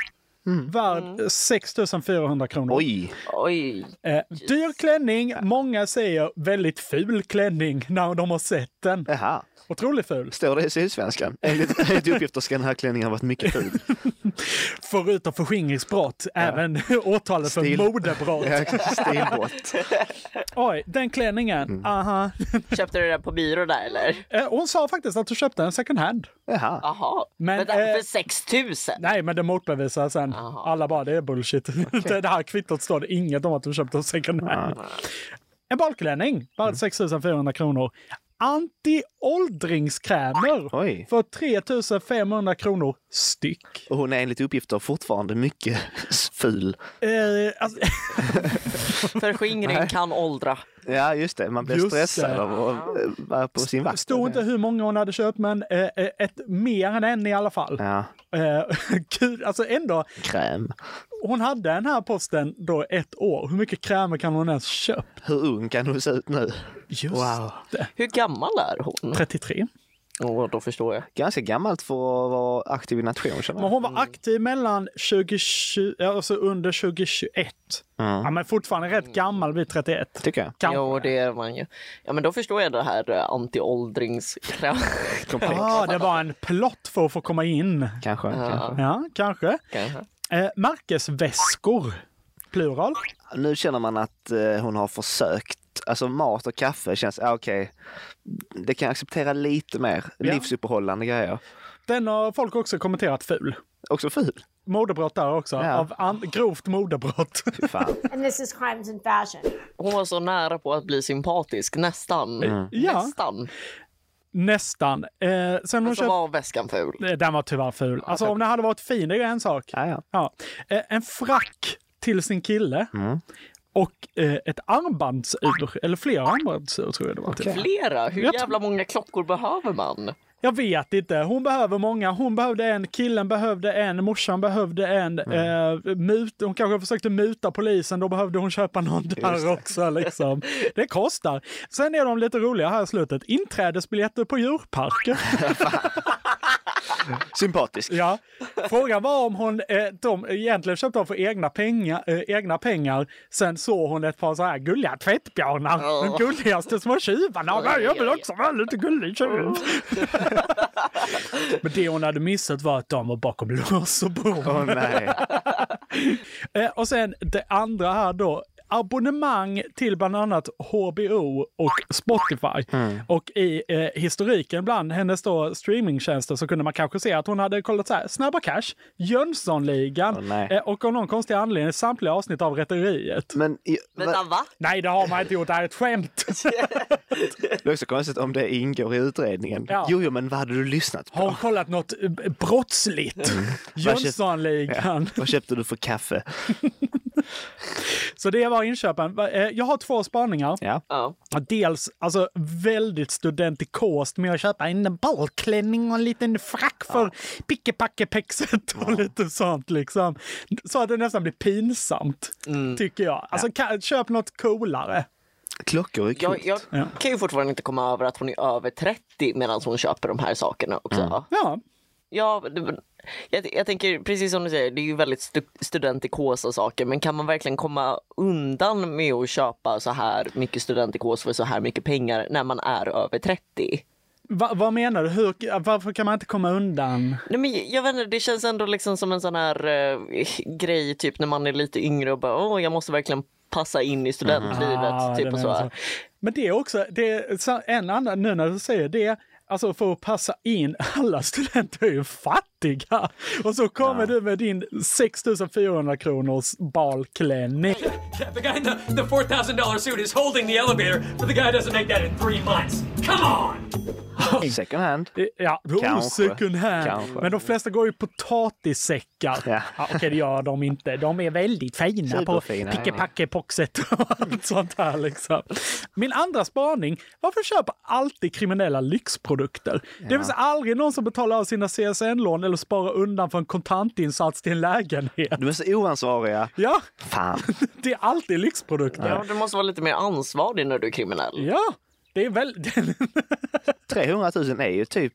Speaker 3: värd 6 400 kronor.
Speaker 2: Oj!
Speaker 4: Oj,
Speaker 3: Eh, dyr klänning. Många säger väldigt ful klänning när de har sett den.
Speaker 2: Jaha.
Speaker 3: Otroligt ful. (laughs)
Speaker 2: Står det i Sydsvenskan? Enligt, enligt uppgifter ska den här klänningen ha varit mycket ful.
Speaker 3: Förutom förskingringsbrott, även (laughs) åtalet för
Speaker 2: Stil.
Speaker 3: modebrott.
Speaker 2: Eh. (laughs) Stilbrott.
Speaker 3: Oj, den klänningen. Aha.
Speaker 4: köpte du den på byrå där eller?
Speaker 3: Eh, Hon sa faktiskt att hon köpte en second hand.
Speaker 2: Jaha.
Speaker 4: Jaha,
Speaker 3: Men,
Speaker 4: men,
Speaker 3: eh,
Speaker 4: för 6 000?
Speaker 3: (laughs) Nej, men det motbevisades sen. Alla bara, det är bullshit. (laughs) Det- Det här kvittot står det inget om att hon köpte en second hand. En balklänning,
Speaker 2: Mm.
Speaker 3: värd 6 400 kronor. Antiåldringskrämer
Speaker 2: Oj.
Speaker 3: för 3 500 kronor styck.
Speaker 2: Och hon är enligt uppgifter fortfarande mycket ful.
Speaker 3: Eh, alltså,
Speaker 4: Förskingring kan åldra.
Speaker 2: Ja, just det. Man blir
Speaker 3: Just
Speaker 2: stressad
Speaker 3: det.
Speaker 2: av att eh, vara på sin vakt.
Speaker 3: stod inte hur många hon hade köpt, men eh, eh, ett, mer än en i alla fall.
Speaker 2: Ja,
Speaker 3: Eh, (laughs) gud, alltså ändå,
Speaker 2: kräm.
Speaker 3: hon hade den här posten då ett år. Hur mycket krämer kan hon ens köpt?
Speaker 2: Hur ung kan hon se ut nu?
Speaker 3: Just
Speaker 2: Wow.
Speaker 3: det.
Speaker 4: Hur gammal är hon?
Speaker 3: 33.
Speaker 4: Åh, då förstår jag.
Speaker 2: Ganska gammalt för att vara aktiv i nation, känner
Speaker 3: Men
Speaker 2: jag.
Speaker 3: hon var aktiv mellan 2020, alltså under 2021. Ja, men fortfarande rätt gammal vid 31.
Speaker 2: Tycker jag.
Speaker 3: Kan-
Speaker 4: Jo, det är man ju. Ja, men då förstår jag det här eh, antiåldringskräm.
Speaker 2: (laughs)
Speaker 3: Ah, det var en plott för att få komma in.
Speaker 2: Kanske. kanske.
Speaker 3: Ja, kanske.
Speaker 4: Kanske.
Speaker 3: Eh, märkesväskor, plural.
Speaker 2: Nu känner man att eh, hon har försökt. Alltså mat och kaffe känns, ah, okej, det kan jag acceptera lite mer. Livsuppehållande grejer.
Speaker 3: Den har folk också kommenterat ful.
Speaker 2: Också ful.
Speaker 3: moderbrott där också.
Speaker 4: Ja.
Speaker 3: Av an- grovt moderbrott. (laughs)
Speaker 11: And this is crimes and fashion.
Speaker 4: Hon var så nära på att bli sympatisk, nästan.
Speaker 3: Mm. Ja.
Speaker 4: Nästan.
Speaker 3: Nästan. Eh, sen hon
Speaker 4: så var väskan ful.
Speaker 3: Eh, Den var tyvärr ful. Alltså om den hade varit fin, det är ju en sak. Ja. Eh, en frack till sin kille. Och eh, ett armbandsur, eller flera armbandsur tror jag det var. typ. till.
Speaker 4: Flera? Hur
Speaker 3: Jag tror-
Speaker 4: jävla många klockor behöver man?
Speaker 3: Jag vet inte. Hon behöver många. Hon behövde en, killen behövde en, morsan behövde en. Eh, mut, hon kanske försökte muta polisen, då behövde hon köpa någon där också. Liksom. Det kostar. Sen är de lite roliga här i slutet. Inträdesbiljetter på (laughs) djurparker.
Speaker 2: Sympatisk.
Speaker 3: Ja. Frågan var om hon eh, de, egentligen köpte dem för egna pengar, eh, egna pengar. Sen såg hon ett par så här gulliga tvättbjörnar.
Speaker 9: Ja.
Speaker 3: De gulligaste små tjuvarna. Men Jag vill också vara lite gullig tjuv. (laughs) Men det hon hade missat var att de var bakom lås och bom.
Speaker 2: Åh, nej.
Speaker 3: (laughs) Eh, och sen det andra här då. Abonnemang till bland annat HBO och Spotify. Och i eh, historiken bland hennes då streamingtjänster så kunde man kanske se att hon hade kollat så här, Snabba Cash, Jönssonligan eh, och av någon konstig anledning samtliga avsnitt av Rederiet.
Speaker 2: Men,
Speaker 4: Vänta, va?
Speaker 3: Nej, det har man inte gjort. Det här är ett skämt.
Speaker 2: Det är också konstigt om det ingår i utredningen.
Speaker 3: Ja.
Speaker 2: Jo, jo, men vad hade du lyssnat på?
Speaker 3: Har hon kollat något eh, brottsligt? Jönssonligan.
Speaker 2: Ja. Vad köpte du för kaffe?
Speaker 3: (laughs) Så det var inköpen. Va- eh, Jag har två spaningar. Dels alltså, väldigt studentikost med att köpa en ballklänning och en liten frack för pickepackepexet och lite sånt. Liksom. Så att det nästan blir pinsamt, tycker jag. Alltså, ka- köp något coolare.
Speaker 2: Klockor är
Speaker 4: Jag, jag kan ju fortfarande inte komma över att hon är över 30 medan hon köper de här sakerna också.
Speaker 3: Ja.
Speaker 4: Ja, det, jag, jag tänker precis som du säger, det är ju väldigt stu, studentikosa saker, men kan man verkligen komma undan med att köpa så här mycket studentikos för så här mycket pengar när man är över 30?
Speaker 3: Va- vad menar du? Hur, varför kan man inte komma undan?
Speaker 4: Nej, men jag vet inte, det känns ändå liksom som en sån här eh, grej typ när man är lite yngre och bara åh, jag måste verkligen passa in i studentlivet.
Speaker 3: Ah,
Speaker 4: typ
Speaker 3: den
Speaker 4: och
Speaker 3: är
Speaker 4: så. här.
Speaker 3: så. Men det är också, det är, så- en annan, nu när du säger det, alltså för att passa in, (laughs) alla studenter är ju fattiga. Och så kommer du med din 6400 kronors balklänning.
Speaker 9: The guy in the, the $4,000 suit is holding the elevator, but the guy doesn't make that in three months. Come on!
Speaker 2: Second hand.
Speaker 3: Ja, oh,
Speaker 2: Kanske.
Speaker 3: second hand.
Speaker 2: Kanske.
Speaker 3: Men de flesta går ju potatissäckar. Ja. Okej, det gör de inte. De är väldigt fina på
Speaker 2: Superfina, ja.
Speaker 3: pickepackepoxet och (laughs) allt sånt här. Liksom. Min andra spaning, varför köper alltid kriminella lyxprodukter? Det finns aldrig någon som betalar av sina CSN-lån eller sparar undan för en kontantinsats till en lägenhet.
Speaker 2: De är så oansvariga.
Speaker 3: Ja,
Speaker 2: (laughs) Fan.
Speaker 3: det är alltid lyxprodukter.
Speaker 4: Ja, du måste vara lite mer ansvarig när du är kriminell.
Speaker 3: Ja, det är väl... (laughs)
Speaker 2: 300 000 är ju typ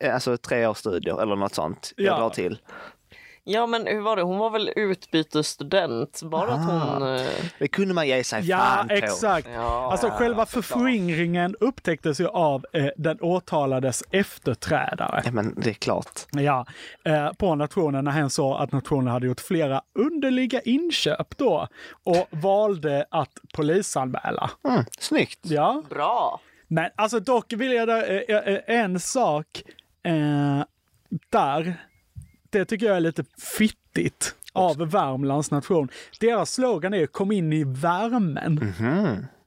Speaker 2: eh, alltså, tre års studier eller något sånt. Jag
Speaker 4: Ja.
Speaker 2: drar till.
Speaker 4: Ja, men hur var det? Hon var väl utbytesstudent? Bara att hon... eh,
Speaker 2: Det kunde man ge sig
Speaker 3: Ja,
Speaker 2: fan på.
Speaker 3: exakt. alltså själva förskingringen upptäcktes ju av eh, den åtalades efterträdare.
Speaker 2: Ja, men det är klart.
Speaker 3: Ja, eh, på nationen när hen sa att nationen hade gjort flera underliga inköp då och valde att polisanmäla.
Speaker 2: Mm, snyggt.
Speaker 3: Ja.
Speaker 4: Bra.
Speaker 3: Men alltså dock vill jag där, eh, eh, en sak eh, där. Det tycker jag är lite fittigt av Värmlands nation. Deras slogan är kom in i värmen.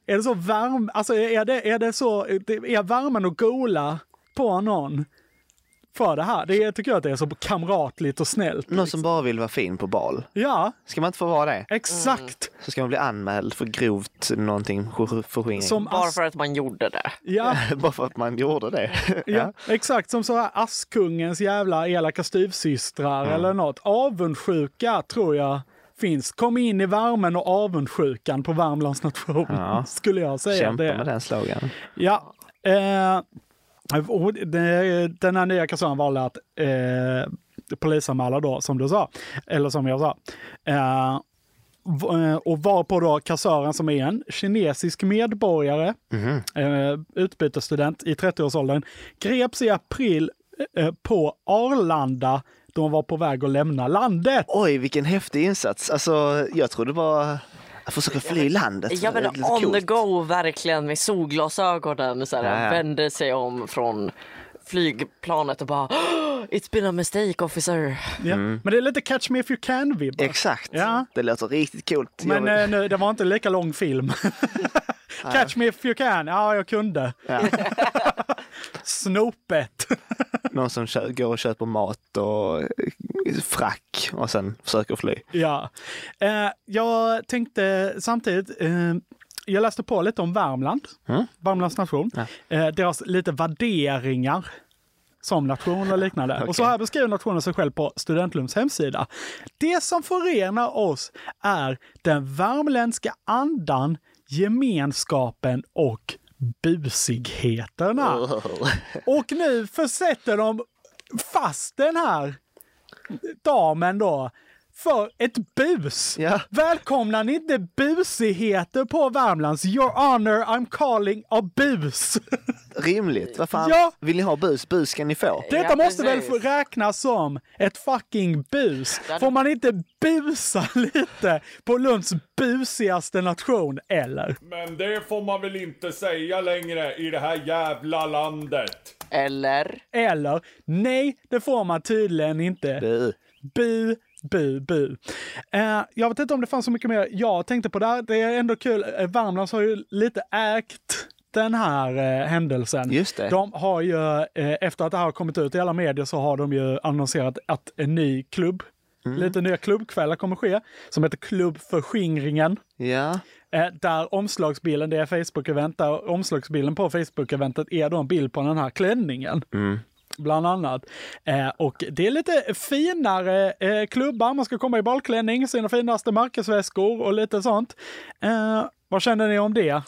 Speaker 3: Är det så värm, alltså är det, är det så, är värmen och gola på någon för det här? Det tycker jag att det är så kamratligt och snällt.
Speaker 2: Någon som bara vill vara fin på bal.
Speaker 3: Ja,
Speaker 2: Ska man inte få vara det?
Speaker 3: Exakt.
Speaker 2: Så ska man bli anmäld för grovt någonting för- förskingring.
Speaker 3: Som
Speaker 4: Bara för att man gjorde det.
Speaker 3: ja.
Speaker 2: (laughs) bara för att man gjorde det.
Speaker 3: (laughs) Ja, exakt som så här Askungens jävla elaka styvsystrar eller något. Avundsjuka tror jag finns. Kom in i värmen och avundsjukan på Värmlands nation,
Speaker 2: Ja.
Speaker 3: (laughs) skulle jag säga.
Speaker 2: Kämpa
Speaker 3: det.
Speaker 2: med den slogan.
Speaker 3: Ja. Eh, och det- den här nya kassören valde att eh, polisanmäla då, som du sa. Eller som jag sa. Eh, v- eh, och var på då kassören som är en kinesisk medborgare, eh, utbytesstudent i 30-årsåldern, greps i april eh, på Arlanda då hon var på väg att lämna landet.
Speaker 2: Oj, vilken häftig insats. Alltså, jag trodde bara att försöka fly landet.
Speaker 4: Ja men
Speaker 2: Det är lite
Speaker 4: on the
Speaker 2: coolt.
Speaker 4: go verkligen med solglasögonen. Så här,
Speaker 2: Ja, ja.
Speaker 4: Vände sig om från flygplanet och bara "Åh, It's been a mistake officer.
Speaker 3: Ja. Men det är lite catch me if you can-vibbar.
Speaker 2: Exakt.
Speaker 3: Ja.
Speaker 2: Det låter riktigt coolt.
Speaker 3: Men
Speaker 2: Jag-
Speaker 3: eh, nu, det var inte lika lång
Speaker 2: (laughs)
Speaker 3: film. catch me if you can. Ja, jag kunde.
Speaker 2: Ja.
Speaker 3: (laughs) Snopet. (laughs) eh,
Speaker 2: Någon som kö- går och köper mat och eh, frack och sen försöker fly.
Speaker 3: Ja. Eh, jag tänkte samtidigt, eh, jag läste på lite om Värmland,
Speaker 2: Mm.
Speaker 3: Värmlands nation, eh, deras lite värderingar som nation och liknande. Och så här beskriver nationen sig själv på Studentlums hemsida. Det som förenar oss är den värmländska andan, gemenskapen och busigheterna. Och nu försätter de fast den här damen då för ett bus. Välkomnar ni inte busigheter på Värmlands? Your honor, I'm calling a bus.
Speaker 2: Rimligt. Vad fan?
Speaker 3: Ja.
Speaker 2: Vill ni ha bus? Bus ska ni få.
Speaker 3: Detta måste väl få räknas som ett fucking bus? Får man inte busa (laughs) lite på Lunds busigaste nation, eller?
Speaker 12: Men det får man väl inte säga längre i det här jävla landet.
Speaker 4: Eller?
Speaker 3: Eller, nej, det får man tydligen inte.
Speaker 2: Bu.
Speaker 3: Bu, bu, bu. Eh, jag vet inte om det fanns så mycket mer jag tänkte på där. Det är ändå kul. Eh, Värmlands har ju lite ägt den här eh, händelsen.
Speaker 2: Just det.
Speaker 3: De har ju, eh, efter att det här har kommit ut i alla medier, så har de ju annonserat att en ny klubb,
Speaker 2: Mm.
Speaker 3: lite nya klubbkvällar kommer ske, som heter Klubb för skingringen.
Speaker 2: Ja.
Speaker 3: Eh, Där omslagsbilden, det är Facebook-event, där omslagsbilden på Facebook-eventet är då en bild på den här klänningen. Bland annat. Eh, och det är lite finare eh, klubbar. Man ska komma i balklänning, sina finaste märkesväskor och lite sånt. Eh, vad känner ni om det?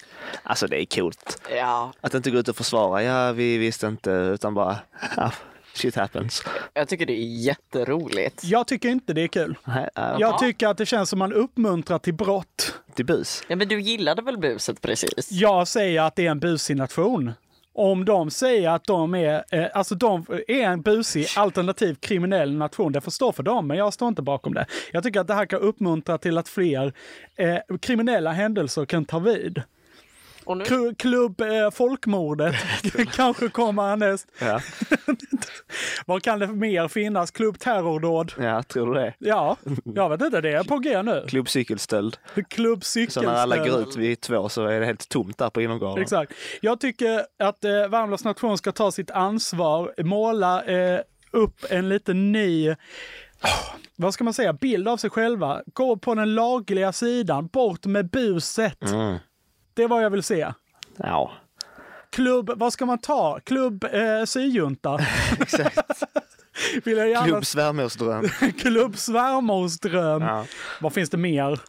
Speaker 2: Alltså det är coolt.
Speaker 4: Ja.
Speaker 2: Att inte gå ut och försvara. Ja, vi visste inte, utan bara "Ah, shit happens.
Speaker 4: Jag tycker det är jätteroligt.
Speaker 3: Jag tycker inte det är kul.
Speaker 2: ah,
Speaker 3: Jag tycker att det känns som man uppmuntrar till brott.
Speaker 2: Till bus?
Speaker 4: Ja, men du gillade väl buset precis?
Speaker 3: Jag säger att det är en busig nation. Om de säger att de är, eh, alltså de är en busig alternativ kriminell nation, det får stå för dem, men jag står inte bakom det. Jag tycker att det här kan uppmuntra till att fler eh, kriminella händelser kan ta vid. Kru- Klubb eh, folkmordet
Speaker 2: (laughs)
Speaker 3: kanske kommer härnäst. (laughs)
Speaker 2: Ja.
Speaker 3: Vad kan det mer finnas? Klubb terrordåd?
Speaker 2: ja, tror du det?
Speaker 3: Ja, jag vet inte, det är på g nu.
Speaker 2: Klubb cykelstöld.
Speaker 3: Klubb
Speaker 2: Så när alla går
Speaker 3: cykelstöld.
Speaker 2: ut vid två så är det helt tomt där på innergården.
Speaker 3: Exakt. Jag tycker att eh, Värmlands nation ska ta sitt ansvar, måla eh, upp en liten ny åh, vad ska man säga? Bild av sig själva. Gå på den lagliga sidan. Bort med buset.
Speaker 2: Mm.
Speaker 3: Det är vad jag vill se.
Speaker 2: Ja.
Speaker 3: Klubb, vad ska man ta? Klubb eh, syjunta.
Speaker 2: (laughs) Exakt.
Speaker 3: (laughs) vill jag gärna...
Speaker 2: Klubb svärmorsdröm.
Speaker 3: Klubb svärmorsdröm. Vad finns det mer?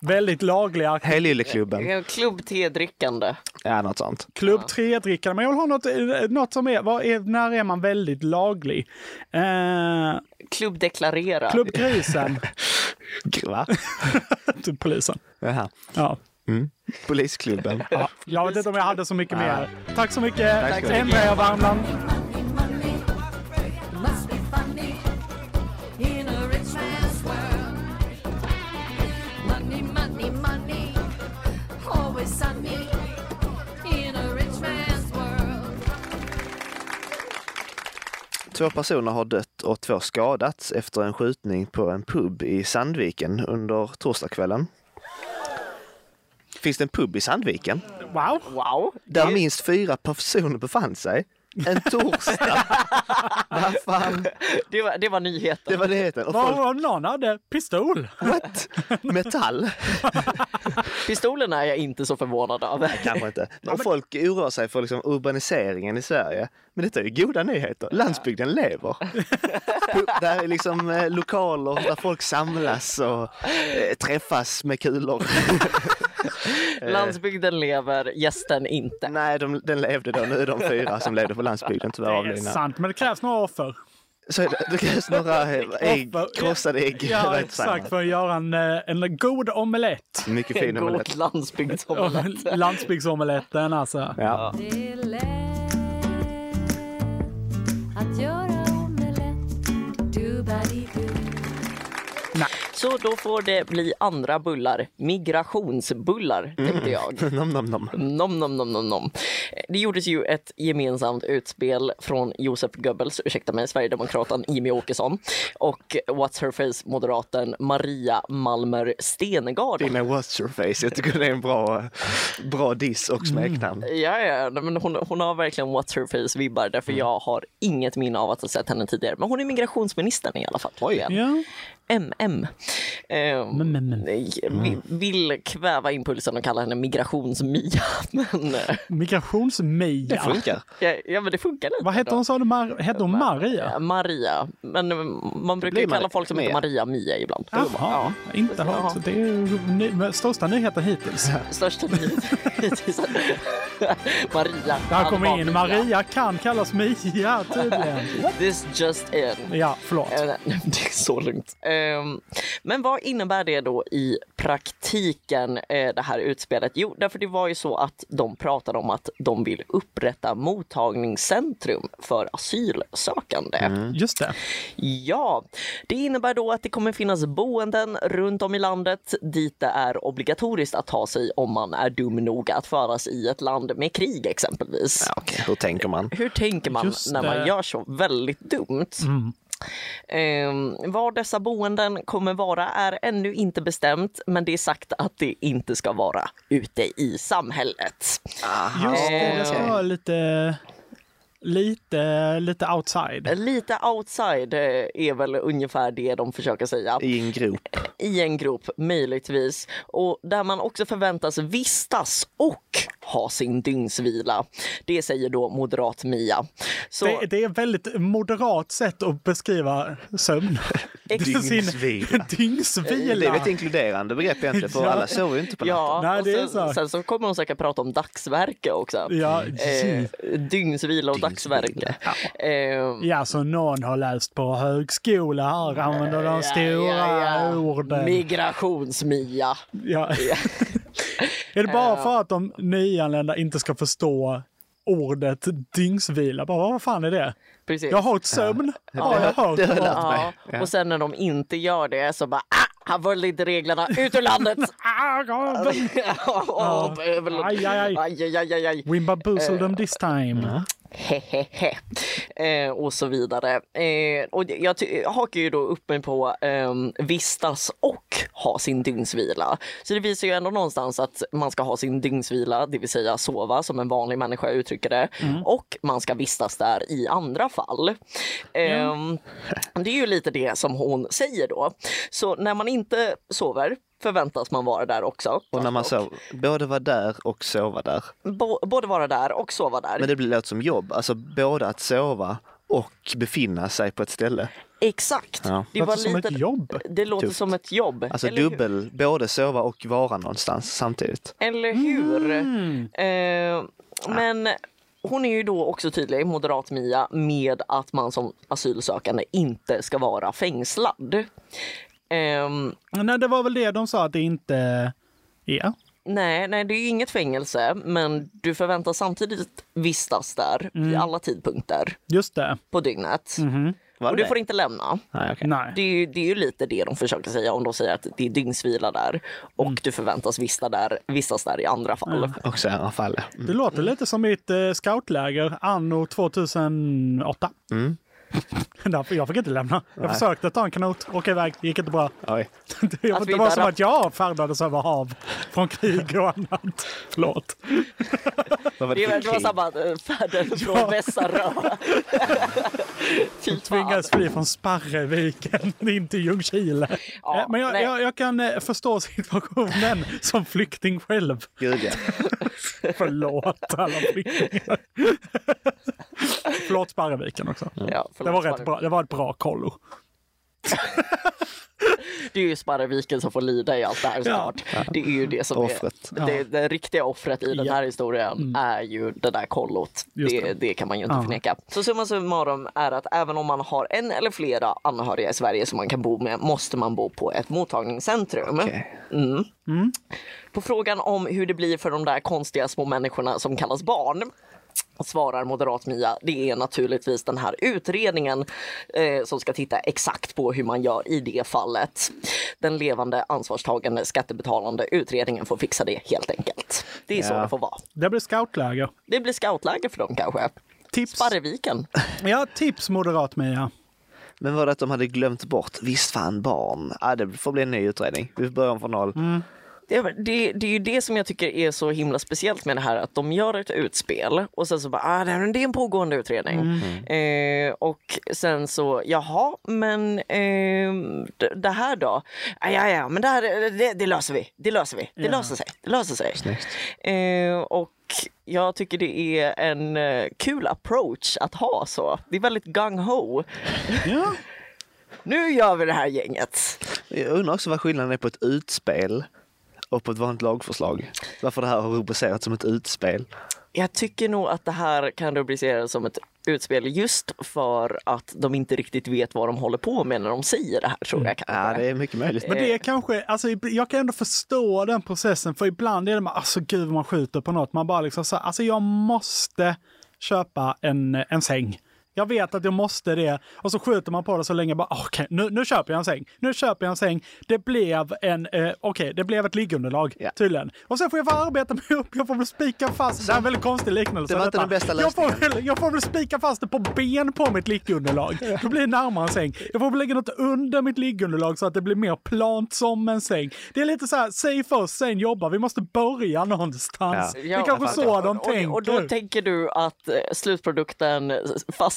Speaker 3: Väldigt lagliga. (laughs)
Speaker 2: Helyleklubben.
Speaker 4: Klubb tedrickande.
Speaker 2: Ja, något sånt.
Speaker 3: Klubb tre drickare, men jag vill ha något, eh, något som är, vad är, när är man väldigt laglig? Eh,
Speaker 4: Klubb deklarera.
Speaker 2: (laughs)
Speaker 3: Klubbgrisen.
Speaker 2: Va?
Speaker 3: Typ Polisen.
Speaker 2: Jaha.
Speaker 3: Ja.
Speaker 2: Mm. Polisklubben.
Speaker 3: Ja, jag vet inte om jag hade så mycket mer. Tack så mycket.
Speaker 2: Tack så mycket.
Speaker 3: Ändra er Värmland.
Speaker 13: Must be funny in a rich man's world. Money, money, money, always sunny in a rich man's world.
Speaker 2: Två personer har dött och två skadats efter en skjutning på en pub i Sandviken under torsdagskvällen. Finns det en pub i Sandviken?
Speaker 3: Wow.
Speaker 4: wow.
Speaker 2: Där minst fyra personer befann sig. En torsdag. Vad fan?
Speaker 4: Det var, det var nyheten.
Speaker 2: Det var nyheten. Och
Speaker 3: Var
Speaker 2: folk,
Speaker 3: var någon hade pistol.
Speaker 2: What? Metall?
Speaker 4: Pistolerna är jag inte så förvånad över.
Speaker 2: kanske inte. Och folk oroar sig för liksom urbaniseringen i Sverige. Men detta är ju goda nyheter. Landsbygden lever. Pu- Där är liksom eh, lokaler där folk samlas och eh, träffas med kulor.
Speaker 4: Landsbygden lever, gästen inte.
Speaker 2: Nej, de, den levde då. Nu är de fyra som levde på landsbygden tyvärr
Speaker 3: Det är
Speaker 2: avlidna.
Speaker 3: sant, men det krävs några offer.
Speaker 2: Så det, det krävs några ägg,
Speaker 3: Offer.
Speaker 2: krossade ägg.
Speaker 3: Ja,
Speaker 2: rätt
Speaker 3: exakt.
Speaker 2: samlat.
Speaker 3: För att göra en, eh, en god omelett.
Speaker 2: Mycket fin God omelett.
Speaker 3: Ja, Landsbygdsomeletten alltså.
Speaker 2: Ja.
Speaker 13: Det är lätt att göra omelett. Du-ba-di-du.
Speaker 3: Nej.
Speaker 4: Så då får det bli andra bullar. Migrationsbullar, tänkte jag.
Speaker 2: (laughs) nom, nom, nom.
Speaker 4: Nom, nom, nom, nom, nom. Det gjordes ju ett gemensamt utspel från Josef Goebbels, ursäkta mig, Sverigedemokraten Jimmy Åkesson och What's Her Face-moderaten Maria Malmer Stenegard.
Speaker 2: Dina what's your face, jag tycker det är en bra, bra diss
Speaker 3: Mm.
Speaker 2: och smeknamn.
Speaker 4: Ja, ja nej, men hon, hon har verkligen what's her face-vibbar. Därför jag har inget minne av att ha sett henne tidigare. Men hon är migrationsministern i alla fall. Oj. MM. Ehm, nej, vi- Vill kväva impulsen och kalla henne migrationsmia. Men, eh,
Speaker 3: Migrationsmeja.
Speaker 4: Ja, ja, men det funkar lite.
Speaker 3: Vad hette hon, sa du? Mar- hette hon Maria?
Speaker 4: Ja, Maria. Men eh, man brukar
Speaker 3: blir
Speaker 4: ju kalla
Speaker 3: Maria.
Speaker 4: folk som heter Maria Mia ibland.
Speaker 3: Jaha, inte hört. Så Det är ju ny- största nyheten hittills.
Speaker 4: Största hittills. Maria.
Speaker 3: Där
Speaker 4: Alba
Speaker 3: kommer in.
Speaker 4: Mia.
Speaker 3: Maria kan kallas Mia tydligen.
Speaker 4: (laughs) This just in.
Speaker 3: Ja, förlåt.
Speaker 4: Eh. (laughs) Det är så lugnt. Ehm, Men vad innebär det då i praktiken, eh, det här utspelet? Jo, därför det var ju så att de pratade om att de vill upprätta mottagningscentrum för asylsökande.
Speaker 3: Just det.
Speaker 4: Ja, det innebär då att det kommer finnas boenden runt om i landet dit det är obligatoriskt att ta sig om man är dum nog att föras i ett land med krig exempelvis.
Speaker 2: Hur tänker man?
Speaker 4: Hur tänker man
Speaker 2: Just
Speaker 4: när
Speaker 2: det. Mm.
Speaker 4: man gör så väldigt dumt? Eh, var dessa boenden kommer vara är ännu inte bestämt, men det är sagt att det inte ska vara ute i samhället.
Speaker 2: Ah.
Speaker 3: Just det, det ska
Speaker 4: Eh,
Speaker 3: vara lite, lite, lite outside.
Speaker 4: Lite outside eh, är väl ungefär det de försöker säga.
Speaker 2: I en grop.
Speaker 4: I en grop, möjligtvis. Och där man också förväntas vistas och ha sin dygnsvila. Det säger då moderat Mia. Så,
Speaker 3: Det, det är ett väldigt moderat sätt att beskriva sömn. Det är sin-
Speaker 2: Dygnsvila.
Speaker 3: (laughs) Dygnsvila.
Speaker 2: Det är ett inkluderande begrepp egentligen, för
Speaker 3: Ja.
Speaker 2: alla sover ju inte på natten.
Speaker 4: Ja,
Speaker 3: Nej,
Speaker 4: och
Speaker 3: det är
Speaker 4: sen,
Speaker 3: så.
Speaker 4: så. sen så kommer hon säkert prata om dagsverke också.
Speaker 3: Ja,
Speaker 4: eh, dygnsvila och dagsverke. Eh,
Speaker 3: Ja, så någon har läst på högskola här, använder de stora
Speaker 4: ja.
Speaker 3: orden.
Speaker 4: Migrationsmia. (laughs)
Speaker 3: Ja. Är det bara för att de nyanlända inte ska förstå ordet dygnsvila? Bara, vad fan är det?
Speaker 4: Precis.
Speaker 3: Jag har ett sömn, har jag hört.
Speaker 4: Ja, Och sen när de inte gör det så bara ah, här var lite reglerna, ut ur
Speaker 3: (laughs)
Speaker 4: landet! (laughs)
Speaker 3: Ah,
Speaker 4: Ja, ja, ja.
Speaker 3: Aj, aj, aj.
Speaker 4: aj, aj, aj, aj.
Speaker 3: We bamboozled them this time.
Speaker 4: Hehehe. Eh, och så vidare. Eh, och jag ty- hakar ju då upp mig på ehm, vistas och ha sin dygnsvila. Så det visar ju ändå någonstans att man ska ha sin dygnsvila, det vill säga sova som en vanlig människa uttrycker det.
Speaker 2: Mm.
Speaker 4: Och man ska vistas där i andra fall. Ehm, Det är ju lite det som hon säger då. Så när man inte sover förväntas man vara där också.
Speaker 2: Och när man sover, både vara där och sova där.
Speaker 4: Bo- både vara där och sova där.
Speaker 2: Men det blir låter som jobb, alltså både att sova och befinna sig på ett ställe.
Speaker 4: Exakt.
Speaker 2: Ja.
Speaker 4: Det,
Speaker 2: Låter
Speaker 4: var
Speaker 2: som
Speaker 4: lite,
Speaker 2: ett jobb.
Speaker 4: det låter
Speaker 2: Tufft.
Speaker 4: som ett jobb.
Speaker 2: Alltså
Speaker 4: eller hur?
Speaker 2: dubbel, både sova och vara någonstans samtidigt.
Speaker 4: Eller hur? Eh, men hon är ju då också tydlig, moderat Mia, med att man som asylsökande inte ska vara fängslad. Ehm,
Speaker 3: Nej, det var väl det de sa att det inte är.
Speaker 4: Nej, nej, det är ju inget fängelse, men du förväntas samtidigt vistas där vid alla tidpunkter
Speaker 3: Just det.
Speaker 4: på dygnet.
Speaker 2: Var
Speaker 4: Och
Speaker 2: det
Speaker 4: du
Speaker 2: det?
Speaker 4: får inte lämna.
Speaker 2: Nej, okej.
Speaker 3: Nej.
Speaker 4: Det är, ju, det är ju lite det de försöker säga om de säger att det är dygnsvila där och du förväntas vistas där, vistas där i andra fall.
Speaker 2: Också i alla fall. Mm.
Speaker 3: Det låter lite som mitt eh, scoutläger anno 2008. (laughs)
Speaker 2: Mm.
Speaker 3: Därför- Jag fick inte lämna. Jag
Speaker 2: Nej.
Speaker 3: försökte ta en kanot, åka iväg, gick inte bra.
Speaker 2: Oj.
Speaker 3: Det,
Speaker 4: Att vi
Speaker 3: det var
Speaker 4: inte
Speaker 3: som
Speaker 4: hade-
Speaker 3: att jag färdades över hav från krig och annat. Förlåt.
Speaker 2: Vad var
Speaker 4: Det
Speaker 2: för
Speaker 4: var, det var
Speaker 2: krig?
Speaker 4: samma eh, (laughs) färden från (laughs) Västsahara. Fy fan.
Speaker 3: Tvingas fly från Sparreviken in till Ljungskile.
Speaker 4: Ja,
Speaker 3: Eh, Men jag,
Speaker 4: nej.
Speaker 3: jag, jag kan eh, förstå situationen som flykting själv.
Speaker 2: Gud ja.
Speaker 3: Förlåt alla flyktingar. Förlåt Sparreviken också.
Speaker 4: Ja, förlåt,
Speaker 3: det, var
Speaker 4: Sparre-
Speaker 3: rätt bra, det var ett bra kollo.
Speaker 4: Det är ju Sparreviken som får lida i allt det här såklart. Det är ju det som
Speaker 2: Offret.
Speaker 4: är det, det riktiga offret i den här historien är ju det där kollot.
Speaker 2: Just
Speaker 4: Mm. Det,
Speaker 2: det.
Speaker 4: det. kan man ju inte
Speaker 2: Ja.
Speaker 4: förneka. Så summa summarum är att även om man har en eller flera anhöriga i Sverige som man kan bo med måste man bo på ett mottagningscentrum. Mm. På frågan om hur det blir för de där konstiga små människorna som kallas barn svarar moderat Mia, det är naturligtvis den här utredningen eh, som ska titta exakt på hur man gör i det fallet. Den levande, ansvarstagande, skattebetalande utredningen får fixa det helt enkelt. Det är så
Speaker 3: Ja.
Speaker 4: det får vara.
Speaker 3: Det blir scoutläger.
Speaker 4: Det blir scoutläger för dem kanske.
Speaker 3: Tips.
Speaker 4: Sparreviken.
Speaker 3: Ja, tips moderat Mia.
Speaker 2: Men var det att de hade glömt bort, visst fan barn? Ja, det får bli en ny utredning. Vi börjar om från noll.
Speaker 3: Mm.
Speaker 4: Det, är väl- det, det är ju det som jag tycker är så himla speciellt med det här att de gör ett utspel och sen så bara, ah, det här är en pågående utredning. Eh, och sen så, jaha, men eh, det, det här då? Ah, ja, ja, men det, här, det, det löser vi. Det löser vi. Det
Speaker 14: Ja.
Speaker 4: löser sig. Det löser sig. Eh, och jag tycker det är en eh, kul approach att ha så. Det är väldigt gung-ho. (laughs) nu gör vi det här gänget.
Speaker 2: Jag undrar också vad skillnaden är på ett utspel och på ett vanligt lagförslag. Varför det här har rubricerats som ett utspel.
Speaker 4: Jag tycker nog att det här kan rubriceras som ett utspel just för att de inte riktigt vet vad de håller på med när de säger det här
Speaker 2: Mm.
Speaker 4: tror jag. Kanske. Ja, det
Speaker 2: är mycket möjligt.
Speaker 4: Eh,
Speaker 3: Men det är kanske, alltså ib- jag kan ändå förstå den processen, för ibland är det man, alltså gud vad man skjuter på något, man bara liksom så här, alltså jag måste köpa en, eh, en säng. Jag vet att jag måste det. Och så skjuter man på det så länge, bara "Ah, okej, nu, nu köper jag en säng. Nu köper jag en säng. Det blev en, eh, okej, det blev ett liggunderlag tydligen. Och sen får jag bara arbeta mig upp, jag får väl spika fast, det är en väldigt konstig liknelse.
Speaker 2: Det var inte
Speaker 3: detta.
Speaker 2: den bästa
Speaker 3: jag får, väl, jag får väl spika fast det på ben på mitt liggunderlag. Då blir det närmare en säng. Jag får väl lägga något under mitt liggunderlag så att det blir mer plant som en säng. Det är lite så här, säg först, sen jobba. Vi måste börja någonstans. det är kanske så de
Speaker 4: och,
Speaker 3: tänker.
Speaker 4: Och då tänker du att eh, slutprodukten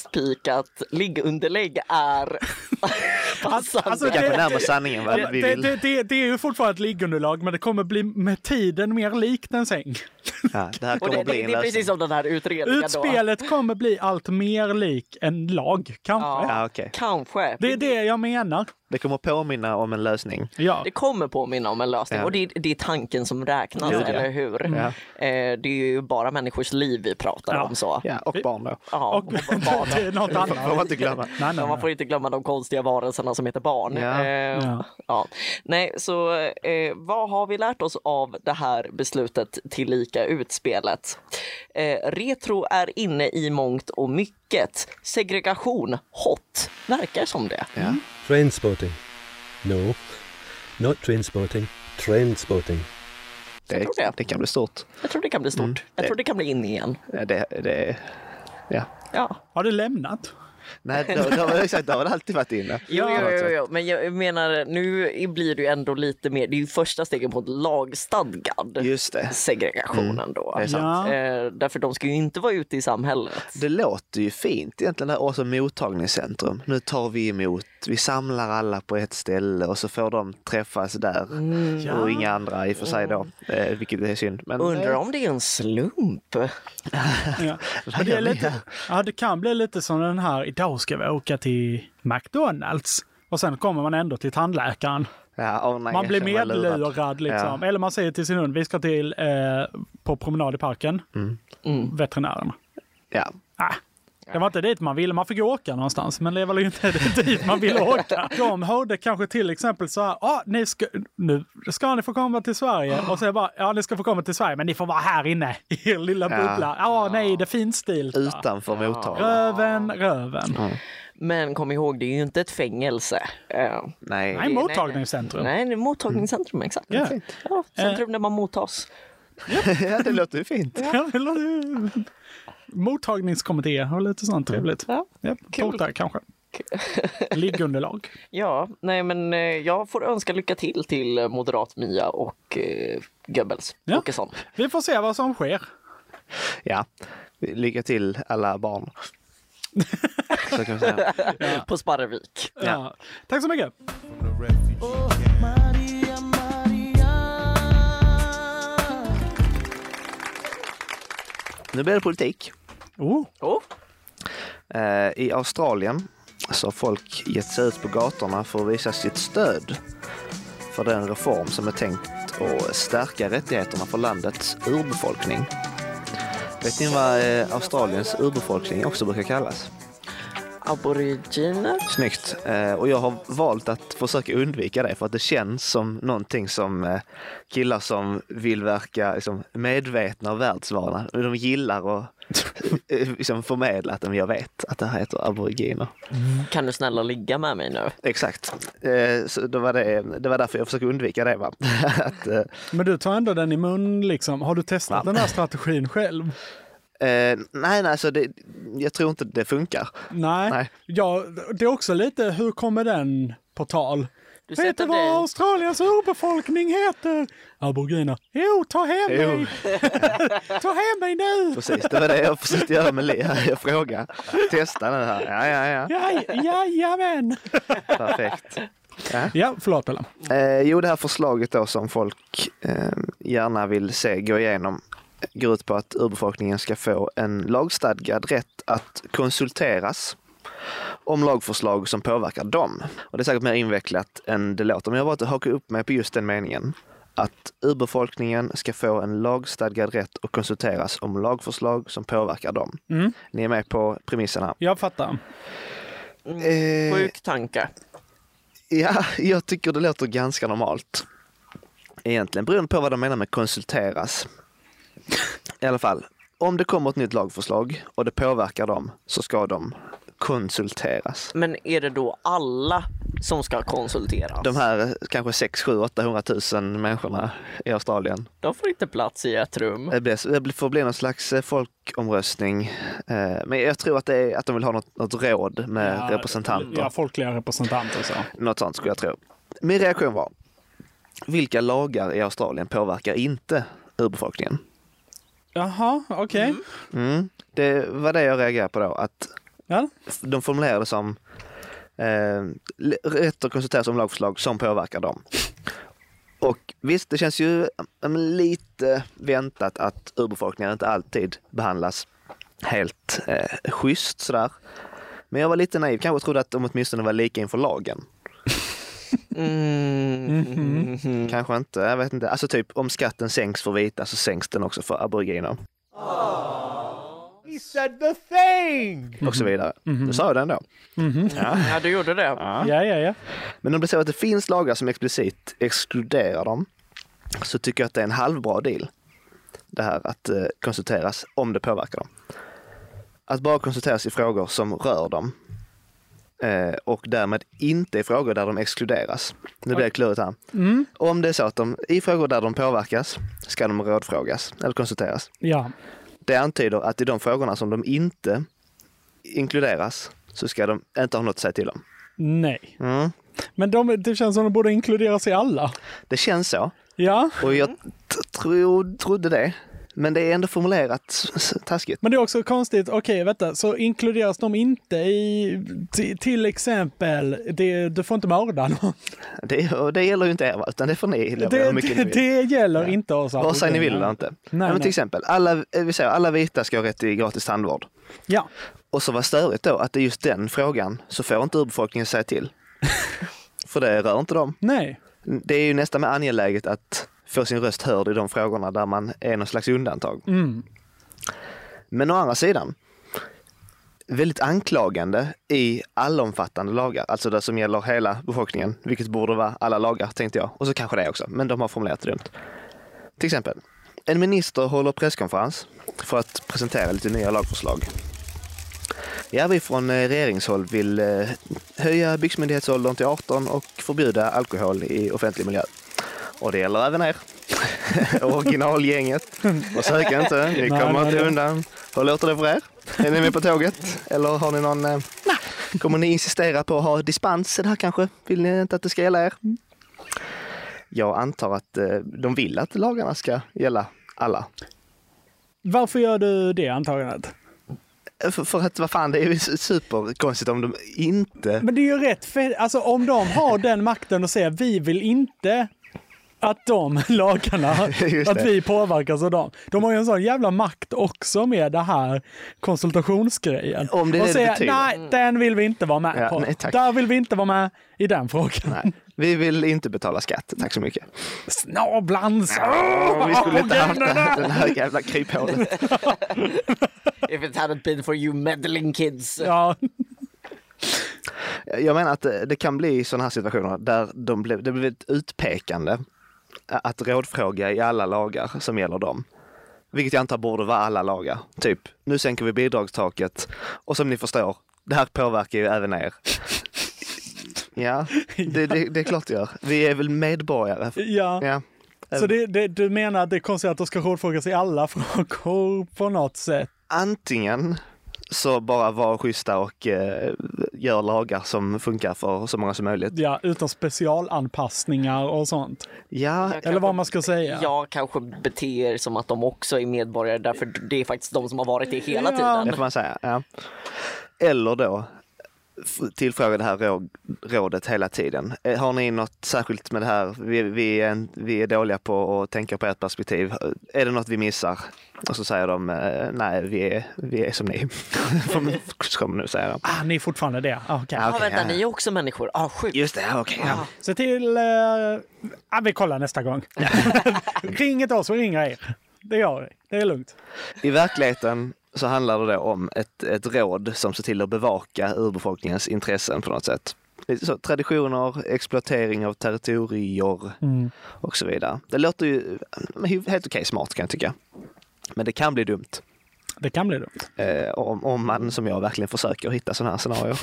Speaker 4: fastpikat liggunderlägg
Speaker 3: (laughs)
Speaker 4: är passande.
Speaker 3: Alltså, det, det, det, det, det är ju fortfarande ett liggunderlag, men det kommer bli med tiden mer likt en säng.
Speaker 2: Ja, det här
Speaker 4: Och
Speaker 2: kommer
Speaker 4: det,
Speaker 2: att bli
Speaker 4: det,
Speaker 2: en
Speaker 4: det är
Speaker 2: lösning.
Speaker 4: precis som den här utredningen.
Speaker 3: Utspelet kommer bli allt mer lik en lag, kanske.
Speaker 2: Ja, okej.
Speaker 4: Kanske.
Speaker 3: Det är det jag menar.
Speaker 2: Det kommer att påminna om en lösning.
Speaker 3: Ja.
Speaker 4: Det kommer påminna om en lösning
Speaker 2: Ja.
Speaker 4: och det är, det är tanken som räknas,
Speaker 2: Gud, ja.
Speaker 4: eller hur?
Speaker 2: Mm. Ja.
Speaker 4: Eh, det är ju bara människors liv vi pratar om så.
Speaker 2: Ja, och barn då.
Speaker 4: Ja, och, barn.
Speaker 3: (laughs) det är något annat.
Speaker 2: Får man inte glömma.
Speaker 4: Ja, man får inte glömma de konstiga varelserna som heter barn.
Speaker 2: Ja.
Speaker 4: Eh,
Speaker 2: Ja.
Speaker 4: ja. Nej, så eh, vad har vi lärt oss av det här beslutet tillika utspelet? Eh, retro är inne i mångt och mycket. Segregation, hot, verkar som det.
Speaker 15: Train spotting. No. Not train spotting. Trend spotting.
Speaker 2: Det, det kan bli stort. Eh,
Speaker 4: Jag tror det kan bli stort. Jag tror det kan bli inne igen.
Speaker 2: Det, det, ja.
Speaker 4: Ja.
Speaker 3: Har du lämnat?
Speaker 2: Nej, det, det, har, väl- exakt, det har väl alltid varit inne.
Speaker 4: Jo, jo, jo, jo, men jag menar nu blir det ju ändå lite mer, det är ju första steget mot lagstadgad segregationen då.
Speaker 2: det är (laughs) sant.
Speaker 4: Eh, därför de ska ju inte vara ute i samhället.
Speaker 2: Det låter ju fint egentligen, det här också mottagningscentrum. Nu tar vi emot, vi samlar alla på ett ställe och så får de träffas där.
Speaker 4: Ja.
Speaker 2: Och inga andra i och för sig då, eh, vilket är synd. Men,
Speaker 4: Undrar om det är en slump?
Speaker 3: Ja. Men det, är lite, ja, det kan bli lite som den här, idag ska vi åka till McDonalds. Och sen kommer man ändå till tandläkaren.
Speaker 2: eh, Ja, åh nej,
Speaker 3: man
Speaker 2: jag
Speaker 3: blir
Speaker 2: känner mig lurad.
Speaker 3: medlurad liksom.
Speaker 2: Ja.
Speaker 3: Eller man säger till sin hund, vi ska till, eh, på promenad i parken.
Speaker 2: Mm.
Speaker 3: Veterinären.
Speaker 2: Ja.
Speaker 3: Ah. Det var inte dit man ville, man fick ju åka någonstans, men det var ju inte (laughs) dit man ville åka. De hörde kanske till exempel så här, ah, ni ska, nu ska ni få komma till Sverige. Och sen bara, ja ni ska få komma till Sverige, men ni får vara här inne (laughs) i er lilla
Speaker 2: Ja.
Speaker 3: bubbla. Ja, nej, det är finstilta.
Speaker 2: Utanför mottagningen.
Speaker 3: Röven, röven.
Speaker 4: Men kom ihåg, det är ju inte ett fängelse. Eh,
Speaker 2: Nej.
Speaker 3: Nej, mottagningscentrum. (laughs)
Speaker 4: Nej, det är
Speaker 2: Mm.
Speaker 4: mottagningscentrum, exakt.
Speaker 3: Ja.
Speaker 4: Ja,
Speaker 2: Eh.
Speaker 4: centrum där man mottas.
Speaker 2: (laughs) ja, det låter ju fint.
Speaker 3: Ja, det låter ju- Mottagningskommitté och lite sånt trevligt.
Speaker 4: Ja,
Speaker 3: ja,
Speaker 4: kul. (laughs)
Speaker 3: tårta kanske. Liggunderlag.
Speaker 4: Ja, nej men eh, jag får önska lycka till till eh, moderat Mia och eh, Goebbels Åkesson.
Speaker 3: Vi får se vad som sker.
Speaker 2: Ja, lycka till alla (laughs) barn. Så kan man säga.
Speaker 4: (laughs) På Sparrevik.
Speaker 3: Ja. Tack så mycket.
Speaker 2: Nu blir det politik.
Speaker 3: Oh.
Speaker 2: Eh, I Australien så har folk gett sig ut på gatorna för att visa sitt stöd för den reform som är tänkt att stärka rättigheterna för landets urbefolkning. Vet ni vad eh, Australiens urbefolkning också brukar kallas?
Speaker 4: Aboriginer.
Speaker 2: Snyggt. Eh, och jag har valt att försöka undvika det för att det känns som någonting som eh, killar som vill verka liksom, medvetna och världsvana, de gillar att eh, liksom, förmedla att de, jag vet att det här heter aboriginer.
Speaker 4: Kan du snälla ligga med mig nu?
Speaker 2: Exakt. Eh, så det, var det, det var därför jag försökte undvika det. Va? (laughs) att, eh,
Speaker 3: Men du tar ändå den i mun liksom. Har du testat den här strategin själv?
Speaker 2: eh, nej, nej, så det, jag tror inte det funkar.
Speaker 3: Nej. Ja, det är också lite, hur kommer den på tal?
Speaker 4: Du
Speaker 3: Vet du
Speaker 4: sätter
Speaker 3: vad
Speaker 4: dig-
Speaker 3: Australiens urbefolkning heter? Aboriginer. Jo, ta hem
Speaker 2: Jo.
Speaker 3: mig! ta hem mig nu!
Speaker 2: Precis, det var det jag försökte göra med Li. här. Jag frågade, testa nu här. Ja, ja, ja.
Speaker 3: Jaj, jajamän!
Speaker 2: Perfekt. Ja.
Speaker 3: Ja, förlåt Ellen.
Speaker 2: Eh, jo, det här förslaget då som folk eh, gärna vill se gå igenom går ut på att urbefolkningen ska få en lagstadgad rätt att konsulteras om lagförslag som påverkar dem. Och det är säkert mer invecklat än det låter, men jag har valt att haka upp mig på just den meningen. Att urbefolkningen ska få en lagstadgad rätt att konsulteras om lagförslag som påverkar dem.
Speaker 3: Mm.
Speaker 2: Ni är med på premisserna?
Speaker 3: Jag fattar.
Speaker 2: Eh.
Speaker 4: Sjuk tanke.
Speaker 2: Ja, jag tycker det låter ganska normalt. Egentligen, beroende på vad de menar med konsulteras. I alla fall, om det kommer ett nytt lagförslag och det påverkar dem så ska de konsulteras.
Speaker 4: Men är det då alla som ska konsulteras?
Speaker 2: De här kanske 6, 7, 800 000 människorna i Australien.
Speaker 4: De får inte plats i ett rum.
Speaker 2: Det, blir, det blir- får bli någon slags eh, folkomröstning. Eh, Men jag tror att, det är, att de vill ha något, något råd med representanter.
Speaker 3: Ja, folkliga representanter. Så.
Speaker 2: Något sånt skulle jag tro. Min reaktion var, vilka lagar i Australien påverkar inte urbefolkningen?
Speaker 3: Jaha, okej.
Speaker 2: Mm. Det var det jag reagerade på då, att
Speaker 3: Ja.
Speaker 2: de formulerade som eh, rätt att konsultera som lagförslag som påverkar dem. Och visst, det känns ju eh, lite väntat att urbefolkningen inte alltid behandlas helt eh, schysst sådär. Men jag var lite naiv, kanske trodde att de åtminstone var lika inför lagen. Kanske inte, jag vet inte. Alltså typ om skatten sänks för vita så sänks den också för aboriginer.
Speaker 14: He said the thing!
Speaker 2: och så vidare. Du sa jag den då. Ja.
Speaker 4: Ja, du gjorde det.
Speaker 3: Ja, ja, ja.
Speaker 2: Men om det så att det finns lagar som explicit exkluderar dem så tycker jag att det är en halvbra deal. Det här att eh, konsulteras om det påverkar dem. Att bara konsulteras i frågor som rör dem eh, och därmed inte i frågor där de exkluderas. Nu blir det klurigt här.
Speaker 3: Mm.
Speaker 2: Om det är så att de i frågor där de påverkas ska de rådfrågas eller konsulteras.
Speaker 3: Ja.
Speaker 2: Det antyder att i de frågorna som de inte inkluderas så ska de inte ha något att säga till om.
Speaker 3: Nej.
Speaker 2: Mm.
Speaker 3: Men de, det känns som de borde inkluderas i alla.
Speaker 2: Det känns så.
Speaker 3: Ja.
Speaker 2: Och jag t- tro, trodde det. Men det är ändå formulerat s- s- taskigt.
Speaker 3: Men det är också konstigt, okej vänta, så inkluderas de inte i, ti- till exempel, det, du får inte mörda någon.
Speaker 2: Det, och det gäller ju inte er, va? utan det får ni lov att göra
Speaker 3: Det,
Speaker 2: hur mycket ni
Speaker 3: det,
Speaker 2: vill.
Speaker 3: det gäller inte oss.
Speaker 2: Vare sig ni vill eller inte. Nej, men
Speaker 3: nej.
Speaker 2: till exempel, alla, eh, vi säger, alla vita ska ha rätt till gratis tandvård.
Speaker 3: Ja.
Speaker 2: Och så var störigt då att i just den frågan så får inte urbefolkningen
Speaker 3: (laughs)
Speaker 2: säga till. För det rör inte dem.
Speaker 3: Nej.
Speaker 2: Det är ju nästan mer angeläget att få sin röst hörd i de frågorna där man är någon slags undantag.
Speaker 3: Mm.
Speaker 2: Men å andra sidan, väldigt anklagande i allomfattande lagar, alltså det som gäller hela befolkningen, vilket borde vara alla lagar tänkte jag. Och så kanske det också, men de har formulerat det dumt. Till exempel, en minister håller presskonferens för att presentera lite nya lagförslag. Ja, vi från eh, regeringshåll vill eh, höja byxmyndighetsåldern till 18 och förbjuda alkohol i offentlig miljö. Och det gäller även er. (laughs) Originalgänget. Försök inte, ni
Speaker 3: Nej,
Speaker 2: kommer
Speaker 3: nej,
Speaker 2: inte
Speaker 3: nej.
Speaker 2: undan. Hur låter det för er? Är ni med på tåget? Eller har ni någon... eh, Kommer ni insistera på att ha dispenser här kanske? Vill ni inte att det ska gälla er?
Speaker 3: Mm.
Speaker 2: Jag antar att eh, de vill att lagarna ska gälla alla.
Speaker 3: Varför gör du det antagandet?
Speaker 2: Eh, För, för att vad fan, det är ju superkonstigt om de inte...
Speaker 3: Men det är ju rätt fel. Alltså om de har den makten och säger vi vill inte att de (laughs) lagarna,
Speaker 2: (laughs) Just
Speaker 3: att
Speaker 2: det.
Speaker 3: vi påverkas av dem. De har ju en sån jävla makt också med det här konsultationsgrejen.
Speaker 2: Om det är
Speaker 3: och
Speaker 2: det det
Speaker 3: säga,
Speaker 2: betyder.
Speaker 3: nej, den vill vi inte vara med
Speaker 2: Ja,
Speaker 3: på.
Speaker 2: nej, tack.
Speaker 3: Där vill vi inte vara med i den frågan.
Speaker 2: Nej, vi vill inte betala skatt, tack så mycket.
Speaker 3: Snablan så! (laughs)
Speaker 2: vi skulle inte haft den här, den
Speaker 3: Aboriginer!
Speaker 2: här jävla kryphålet.
Speaker 4: If it hadn't been for you meddling kids.
Speaker 3: Ja.
Speaker 2: Jag menar att eh, det det kan bli sådana här situationer där de blev, det blev ett utpekande eh, att rådfråga i alla lagar som gäller dem. Vilket jag antar borde vara alla lagar. Typ, nu sänker vi bidragstaket och som ni förstår, det här påverkar ju även er. Ja, det, det, det är klart det gör. Vi är väl medborgare.
Speaker 3: Ja.
Speaker 2: eh.
Speaker 3: Så det, det, du menar att det är konstigt att de ska rådfrågas i alla (laughs) frågor på något sätt?
Speaker 2: Antingen så bara var schyssta och eh, gör lagar som funkar för så många som möjligt.
Speaker 3: Ja, utan specialanpassningar och sånt.
Speaker 2: Ja,
Speaker 3: eller vad man ska säga.
Speaker 4: Jag kanske beter som att de också är medborgare därför det är faktiskt de som har varit det hela
Speaker 2: Det
Speaker 4: tiden.
Speaker 2: får man säga. Ja. Eller då f- tillfråga det här rå- rådet hela tiden. Eh, Har ni något särskilt med det här? Vi, vi, är, en- vi är dåliga på att tänka på ert perspektiv. Är det något vi missar? Och så säger de eh, nej, vi är, vi är som ni. (laughs) Får man- Kommer nu säga de.
Speaker 3: Ah, ni är fortfarande det? Ah, okej.
Speaker 4: Ja, vänta, ni är också människor. Ah, sjukt.
Speaker 2: Just det, okej. ja.
Speaker 3: Se till... Eh, ah, vi kollar nästa (laughs) gång. Ring inte oss, vi ringer er. Det gör vi. Det är lugnt.
Speaker 2: I verkligheten så handlar det då om ett, ett råd som ser till att bevaka urbefolkningens intressen på något sätt. Så traditioner, exploatering av territorier
Speaker 3: Mm.
Speaker 2: och så vidare. Det låter ju helt okej smart kan jag tycka. Men det kan bli dumt
Speaker 3: Det kan bli dumt.
Speaker 2: eh, om, om man som jag verkligen försöker hitta sådana här scenarier.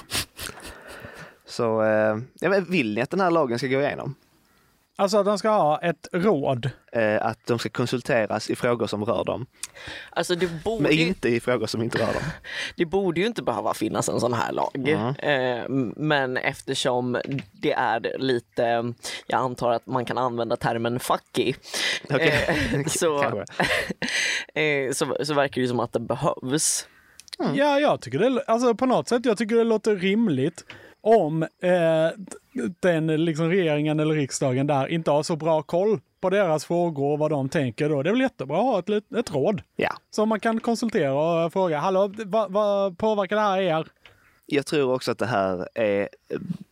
Speaker 2: Så eh, ja, men vill ni att den här lagen ska gå igenom?
Speaker 3: Alltså att de ska ha ett råd?
Speaker 2: Eh, att de ska konsulteras i frågor som rör dem,
Speaker 4: Alltså det
Speaker 2: men
Speaker 4: borde, ju,
Speaker 2: inte i frågor som inte rör dem.
Speaker 4: det borde ju inte behöva finnas en sån här lag.
Speaker 2: Mm.
Speaker 4: Eh, men eftersom det är lite, jag antar att man kan använda termen fucky.
Speaker 2: (laughs) Okej.
Speaker 4: Eh, (laughs) så, eh, så, så verkar det ju som att det behövs.
Speaker 3: Ja, jag tycker det, alltså på något sätt, jag tycker det låter rimligt om eh, den liksom regeringen eller riksdagen där inte har så bra koll på deras frågor och vad de tänker då. Det är väl jättebra att ha ett, lit- ett råd
Speaker 2: Ja.
Speaker 3: som man kan konsultera och fråga, hallå, vad vad påverkar det här er?
Speaker 2: Jag tror också att det här är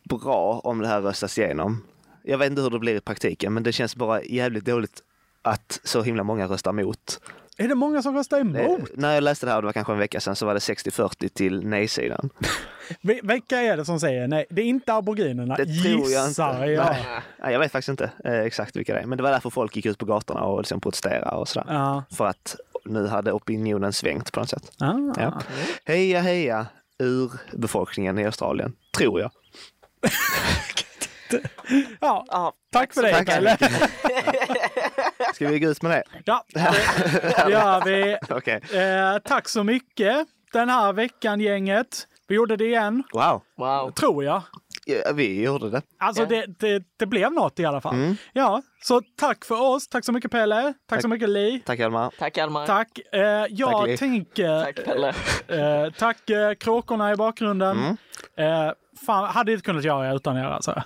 Speaker 2: bra om det här röstas igenom. Jag vet inte hur det blir i praktiken, men det känns bara jävligt dåligt att så himla många röstar emot.
Speaker 3: Är det många som röstar
Speaker 2: Eh,
Speaker 3: emot?
Speaker 2: När jag läste det här, det var kanske en vecka sedan, så var det 60-40 till nej-sidan.
Speaker 3: Vi- Vilka är det som säger nej? Det är inte aboriginerna,
Speaker 2: Det tror jag inte.
Speaker 3: gissar jag.
Speaker 2: Nej. Nej, jag vet faktiskt inte eh, exakt vilka det är. Men det var därför folk gick ut på gatorna och liksom protesterade och sådär.
Speaker 3: Ja.
Speaker 2: För att nu hade opinionen svängt på något sätt.
Speaker 3: Ah.
Speaker 2: Ja. Heja, heja urbefolkningen i Australien, tror jag.
Speaker 3: Ja,
Speaker 4: Ja,
Speaker 3: tack för det,
Speaker 2: Tack,
Speaker 3: Pelle.
Speaker 2: Ska vi gå ut med det? (laughs)
Speaker 3: Ja, det gör vi.
Speaker 2: Okej.
Speaker 3: Eh, tack så mycket den här veckan, gänget. Vi gjorde det igen,
Speaker 2: Wow.
Speaker 4: Wow.
Speaker 3: tror jag.
Speaker 2: Ja, vi gjorde det.
Speaker 3: Alltså, det, det, det blev något i alla fall.
Speaker 2: Mm.
Speaker 3: Ja, så tack för oss. Tack så mycket, Pelle. Tack, så mycket, Li.
Speaker 2: Tack Alma.
Speaker 4: Tack Alma.
Speaker 3: Tack. Eh, jag
Speaker 2: Tack, Li.
Speaker 3: tänker...
Speaker 4: Tack, Pelle.
Speaker 3: Eh, tack eh, kråkorna i bakgrunden. Eh, fan, hade inte kunnat göra utan er alltså.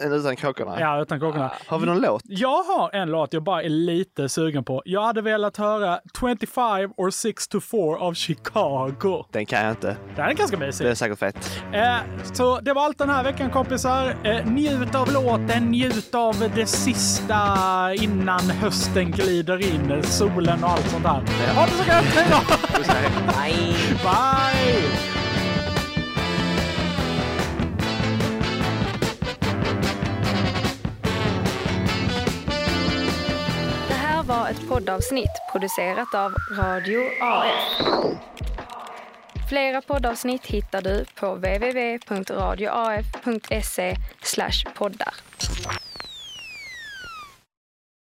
Speaker 2: Utan kråkorna.
Speaker 3: Ja, utan kråkorna.
Speaker 2: Har vi någon låt?
Speaker 3: Jag har en låt jag bara är lite sugen på. Jag hade velat höra 25 or 6 to 4 av Chicago.
Speaker 2: Den kan jag inte.
Speaker 3: Den är ganska mysig.
Speaker 2: Den är säkert fett.
Speaker 3: Eh, så det var allt den här veckan kompisar. Eh, njut av låten, njut av det sista innan hösten glider in, solen och allt sånt där. Ha det så gött, hej då!
Speaker 2: (laughs)
Speaker 4: Bye.
Speaker 3: Bye!
Speaker 1: Det här var ett poddavsnitt producerat av Radio AF. Flera poddavsnitt hittar du på www.radioaf.se E poddar.